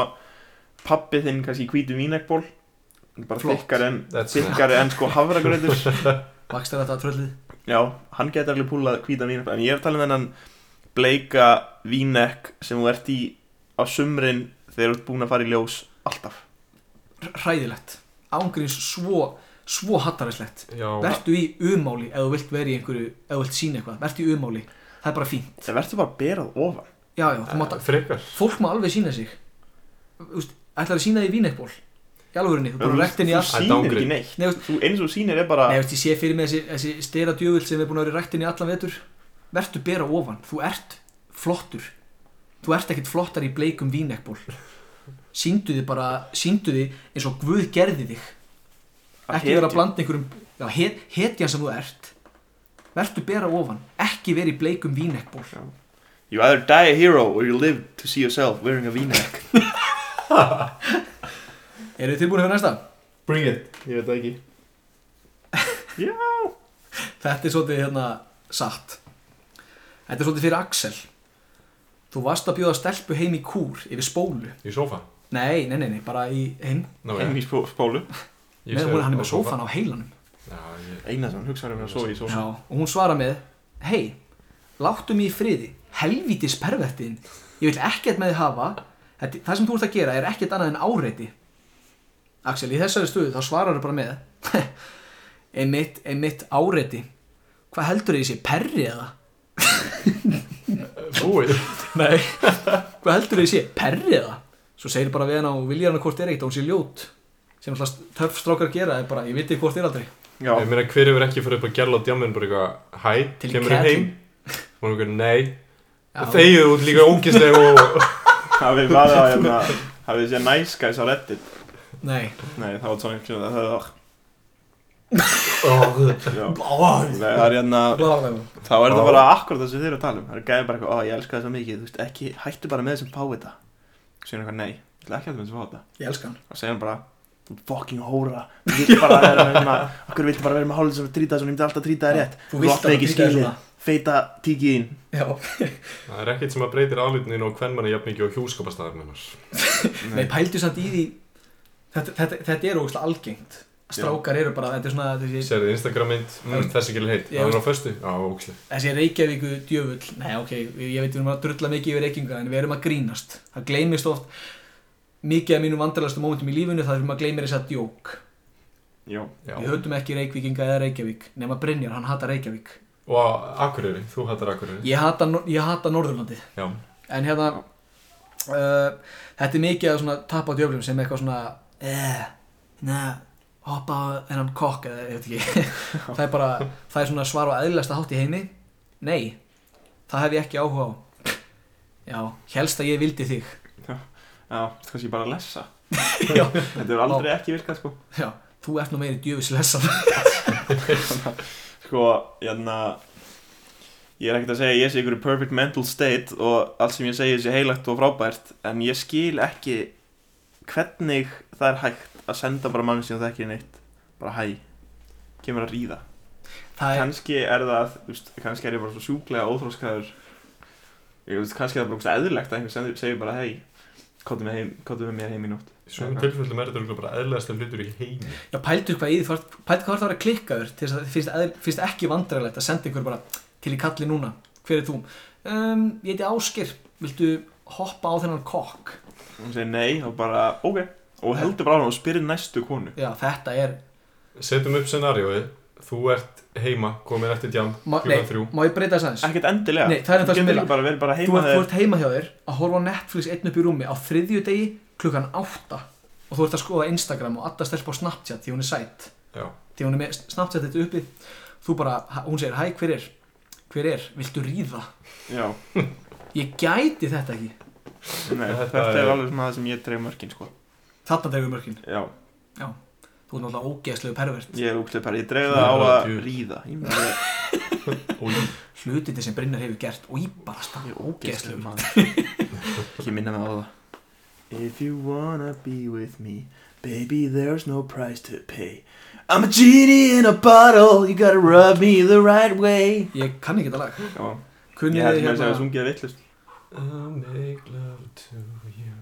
Pappi þinn kannski hvítu vínak ból Bara
Flott.
þykkar en,
That's
þykkar en sko hafragröður
Vakst þetta tröllið?
Já, hann getur alveg púlað hvíta vínak En ég er að tala um þennan bleika vínek sem þú ert í á sumrin þegar þú ert búin að fara í ljós alltaf
hræðilegt ángurins svo, svo hattarislegt
Já,
vertu í umáli ef þú vilt vera í einhverju ef þú vilt sína eitthvað, vertu í umáli það er bara fín,
það verður bara að bera það ofan
já já, þú mátt
frekar
fólk má alveg sína sig Úst, ætlar að sína því vínekból í alvörinni, þú bara rektin í allt
þú
Þetta
sýnir
ágrip.
ekki neitt
Nei, veist-
þú, eins og þú sýnir er bara
Nei, veist, ég sé fyrir mig þessi, þessi stera djöfull sem er búin að vera í rættinni allan vetur Vertu bera ofan, þú ert flottur Þú ert ekkert flottar í bleikum vínekból Sýndu þið bara, sýndu þið eins og Guð gerði þig
Að
Ekki vera
hetja.
að blanda einhverjum Já, het, hetjan sem þú ert Vertu bera ofan, ekki vera í bleikum vínekból
you either die a hero or you live to see yourself wearing a v-neck
Eru þið tilbúin fyrir næsta?
Bring it
ég veit það ekki
Þetta er svolítið hérna satt Þetta er svolítið fyrir Axel Þú varst að bjóða stelpu heim í kúr yfir spólu
Í sofa
Nei, nei, nei, nei, bara í heim
Nú,
heim í spó- spólu
Nei, hún, hann er með sófan á heilanum
eina sem hann hugsaður um að sofa í sófa
Já, og hún svarar með Hei, láttu mig í friði Helvítis pervertin Ég vil ekkert með þið hafa þetta, Það sem þú ert að gera er ekkert annað en áreiti Axel, í þessari stöðu þá svarar þú bara með Einmitt, einmitt áreiti Hvað heldur þið sé, perri eða?
Búið
Nei Hvað heldur þið sé, perri eða? Svo segir bara við hana og vilja hana hvort er ekkert að hún sé ljót sem alltaf töfstrákar gera er bara, ég veit ekki hvort er aldrei
já
Ég meina, hver hefur ekki fyrir upp að gæla á djáminn bara eitthvað Hæ,
Til
kemur þið heim
Katrín.
Og hún eitthvað, nei
Já.
Þegið út líka ógislega og
hafið vaða hérna hafið séð nice guys á reddit
Nei
nei það var svona einhvern veginn það-
Ó,
já.
Bá,
Nei, það er hérna þá er
Já.
það bara akkurat það sem þið eru að tala um það er gæði bara eitthvað, ó ég elska það svo mikið þú veist ekki, hættu bara með þessum fávita svo er eitthvað, nei, ég ætla ekki að hættu með þessum fávita
Ég elska hann
og segja hann bara þú fucking hóra þú vilt bara vera með hérna okkur vilt bara vera með hálfið sem að trýta svona ég myndi alltaf trýta það rétt
Þú vilt
átt
bara
ekki
trýta þér
skilið.
svona.
feita tíkið þín
Já
Það er ekkert sem að breytir álutinu og hvern manni jafn mikið og hjúskapastæðar hennar
Nei, pældu samt í því Þetta, þetta, þetta er ógustlega algengt Strákar eru bara, þetta er svona þessi,
Serðu Instagram mynd, mm, þessi gæli heit
Ég
Það
veist-
er á föstu, já, ógislega
þessi Reykjavíku djöfull Nei, ok, ég veit við erum að drulla mikið yfir Reykjavíka En við erum að grínast Það gleymist oft mikið af mínum vandralastu mómentum í lífinu Það er sem að gleymir þess að djók
já
Við
Já.
höldum ekki Reykvíkinga eða Reykjavík Nefna Brynjar, hann hata Reykjavík
Og Akureyri, þú hattar Akureyri
Ég hata, Nor- ég hata Norðurlandið
Já,
En hérna uh, Þetta er mikið að svona tappa á djöflum sem eitthvað svona eh, neða, hoppa á þennan kokk eða ég veit ekki það er bara, það er svona svar á eðlasta hátt í heimi Nei, það hef ég ekki áhuga á Já, helst að ég vildi þig
já, þetta er kannski bara að lessa
Já,
þetta er aldrei ekki virkað sko
já þú ert nú meiri djöfislessan
sko, hérna ég er ekkert að segja að ég sé ykkur perfect mental state og allt sem ég segi sé heilagt og frábært en ég skil ekki hvernig það er hægt að senda bara mann sem það ekki er neitt bara hæ, kemur að ríða
Það er,
kannski er það, þú veist, kannski er ég bara svo sjúklega óþróskaður ég veist, kannski er það bara einhvers eðlilegt að einhver sendur, segir bara hei, kóttu með, heim, kóttu með mér heim í nótt
í svona tilfellum er þetta örugglega bara eðlæðasta hlutur í heimi
já, pældu hvað í því þú ert- pældu hvað þú ert að vera klikkaður til þess að það finnst, eðl- finnst ekki vandræðilegt að senda einhver bara til í kalli núna, hver er þú? Um, ég heiti Áskir, viltu hoppa á þennan kokk?
hún segir nei og bara, ok og heldur bara á hann og spyrir næstu konu
Já, þetta er
Setjum upp scenarióið, þú ert heima, komin eftir djám,
má,
klukkan
nei,
þrjú
má ég breyta þess aðeins?
ekkert endilega
Nei, það er þetta
Þú
að
getur
spila.
ekki bara verið bara
Þú
heima
ert, þú ert heima hjá þér að horfa á Netflix einn upp í rúmi á þriðju degi klukkan átta og þú ert að skoða Instagram og alltaf stelpa á Snapchat því hún er sætt
Já,
því hún er með Snapchat þetta uppi þú bara, hún segir, hæ, hver er? hver er? Viltu ríða?
Já,
Ég gæti þetta ekki
nei,
Þetta
þetta er
er-
alveg svona það sem ég dreif mörkin sko.
þarna dregur mörkin
Já,
þú ert náttúrulega ógeðslegu pervert
ég er úklepp Ég dreif
Það
það á
er
að
djú.
ríða Ég meina, ég-
og
hlutinni sem Brynjar hefur gert og íbarast
ég er
Ógeðslegur.
ógeðslegur maður Ekki minna mig á það If you wanna be with me Baby there's no price to pay I'm a genie in a bottle You gotta rub me the right way
ég kann ekki þetta lag
Já, ég
kunnið
held
þið
með að segja
hérna
sungið vittlust
I'll make love to you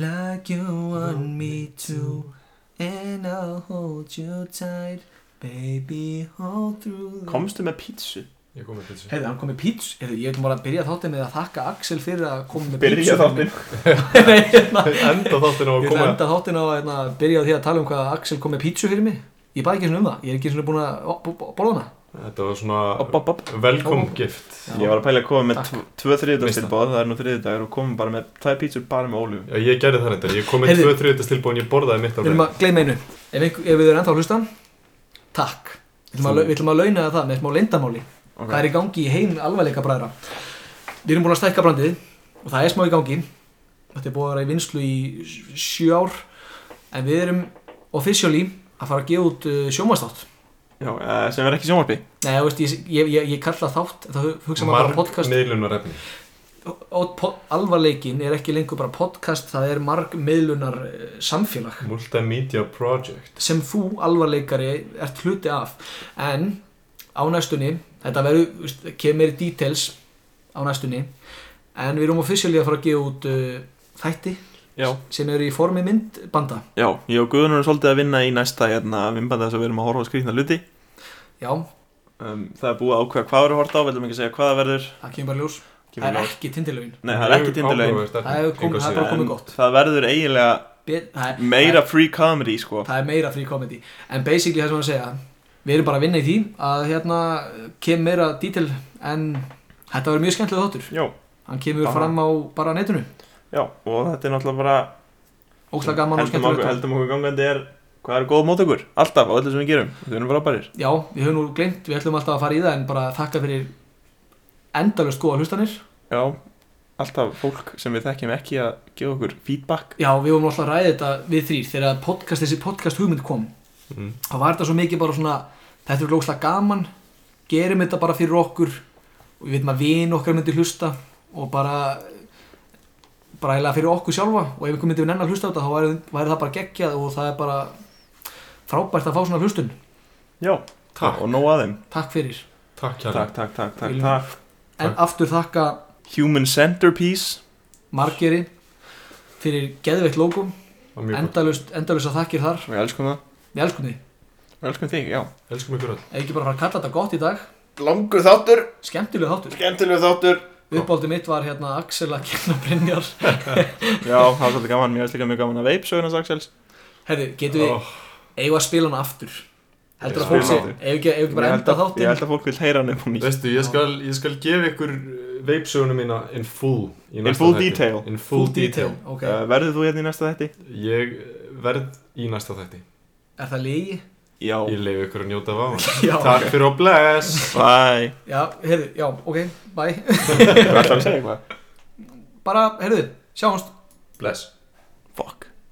Like you want me to And I'll hold you tight Baby, hold through the
Komstu með pítsu?
Ég kom með pizza
Hefði, hann kom með pítsu, hefði, ég veitum bara að byrja þáttinn með að þakka Axel fyrir að koma með
Byrja þáttinn
Nei, hérna,
Enda þáttin á
ég ætla
að
að
koma
enda þáttinn á að hérna, byrja á því að tala um hvað Axel kom með pítsu fyrir mig. Ég bæði ekki svona um það, ég er ekki svona búin að ó, bú- bú- borða hana.
Þetta var
Opp,
svona
opp, opp
velkomgift
Já.
Ég var að pæla að koma með
Takk.
tv- tvö þriðdags
Veist
tilbáð Það er nú þriðdagar og komum bara með tvær pítsur bara með ólífum
Já, ég gerði það reyndar, ég kom með
Heyrðu.
tvö þriðutast tilbúin, ég borðaði mitt á
Við erum að gleyma einu, ef, einhver, ef við erum ennþá að hlusta, takk. Við ætlum að,
Þú-
lau- við ætlum að launa það með smá leindamáli.
Ok.
Það er í gangi í heim alvarleika bræðra. Við erum búin að stækka brandið og það er smá í gangi. Þetta er búin að vera í vinslu í sj- sjö ár. En við erum officially að fara að gefa út uh, sjómastátt.
Já, eh, sem er ekki sjónvarpi
Nei, þú veist, ég, ég, ég, ég kalla þátt, þá hu- hugsa maður bara
Marg
podcast
miðlunarefni
og po alvarleikin er ekki lengur bara podcast, það er marg miðlunar samfélag
Multimedia Project
sem þú alvarleikari ert hluti af en á næstunni, þetta verður þú veist, kemur meiri details á næstunni en við erum officially að fara að gefa út uh, þætti
Já.
sem eru í formi myndbanda
Já, ég og Guðun erum svolítið að vinna í næsta hérna, vimbanda þess að við erum að horfa á skrýtna hluti
já,
um, Það er búið að ákveða hvað við erum að horta á, við ætlum ekki að segja hvað það verður
það kemur bara í ljós
Kemur
það er
ljós.
ekki tindilögin
Nei, það er ekki tindulegin
Það hefur komið- það er bara komið gott.
það verður eiginlega
Be- það er-
meira free comedy sko
það er meira free comedy en basically það sem hann segja við erum bara að vinna í því að hérna kem meira dítil en þetta verður mjög skemmtilega þáttur
Já,
hann kemur
Bara-
fram á bara netinu
já, og þetta er náttúrulega bara
óslag gaman og
heldum okkur,
skemmtilega
heldum okkur gangandi er hvað er góð mót okkur, alltaf á öllu sem við gerum við erum frábærir
já, við höfum nú gleymt, við ætlum alltaf að fara í það en bara þakka fyrir endalust góða hlustanir
já, alltaf fólk sem við þekkjum ekki að gefa okkur feedback
já, við vorum alltaf að ræða þetta við þrýr þegar podcast, þessi podcast hugmynd kom
Mm.
þá var þetta svo mikið bara svona þetta er óslag gaman, gerum þetta bara fyrir okkur og við veitum að vin okkar myndi hlusta og bara bara eiginlega fyrir okkur sjálfa og ef einhver myndi við nenn að hlusta á þetta þá væri, væri það bara geggjað og það er bara frábært að fá svona hlustun
já,
Takk,
og nóg að þeim
Takk fyrir
takk hérna
takk, takk, takk, takk,
Viljum-
takk.
en aftur þakka
Human Centerpiece
Margeri fyrir geðveikt logo
var mjög gott,
endalust, endalust að þakkir þar
við elskum það,
við elskum þið
við elskum þig, já
elskum ykkur öll
ef ekki bara fara að kalla þetta gott í dag
Langur þáttur,
skemmtileg þáttur
skemmtilegur þáttur
uppáldi mitt var hérna Axel að kenna Brynjar
já, það var svolítið gaman, mér finnst líka mjög gaman að veip söguna Saksels
herri, getum við
Ó,
eigum við að spila hana aftur heldur að
Spila
fólk sé
aftur.
ef ekki, ef ekki bara enda
ég
þáttinn
held að fólk vil heyra hann upp hún í
Veistu, ég skal, ég skal gefa ykkur eh, veipsögunum mína in full í
in
næsta
full
þætti.
detail
In full, detail,
ok,
uh, verður þú hérna í næsta þetti?
Ég eh, verð í næsta þætti
er það lígi?
já,
Ég leiði ykkur að njóta af hann
já,
Takk fyrir og bless
bye
já, heyrðu, já, ok, bye
Þú ætlar að segja eitthvað?
bara, heyrðu, sjáumst
Bless
Fuck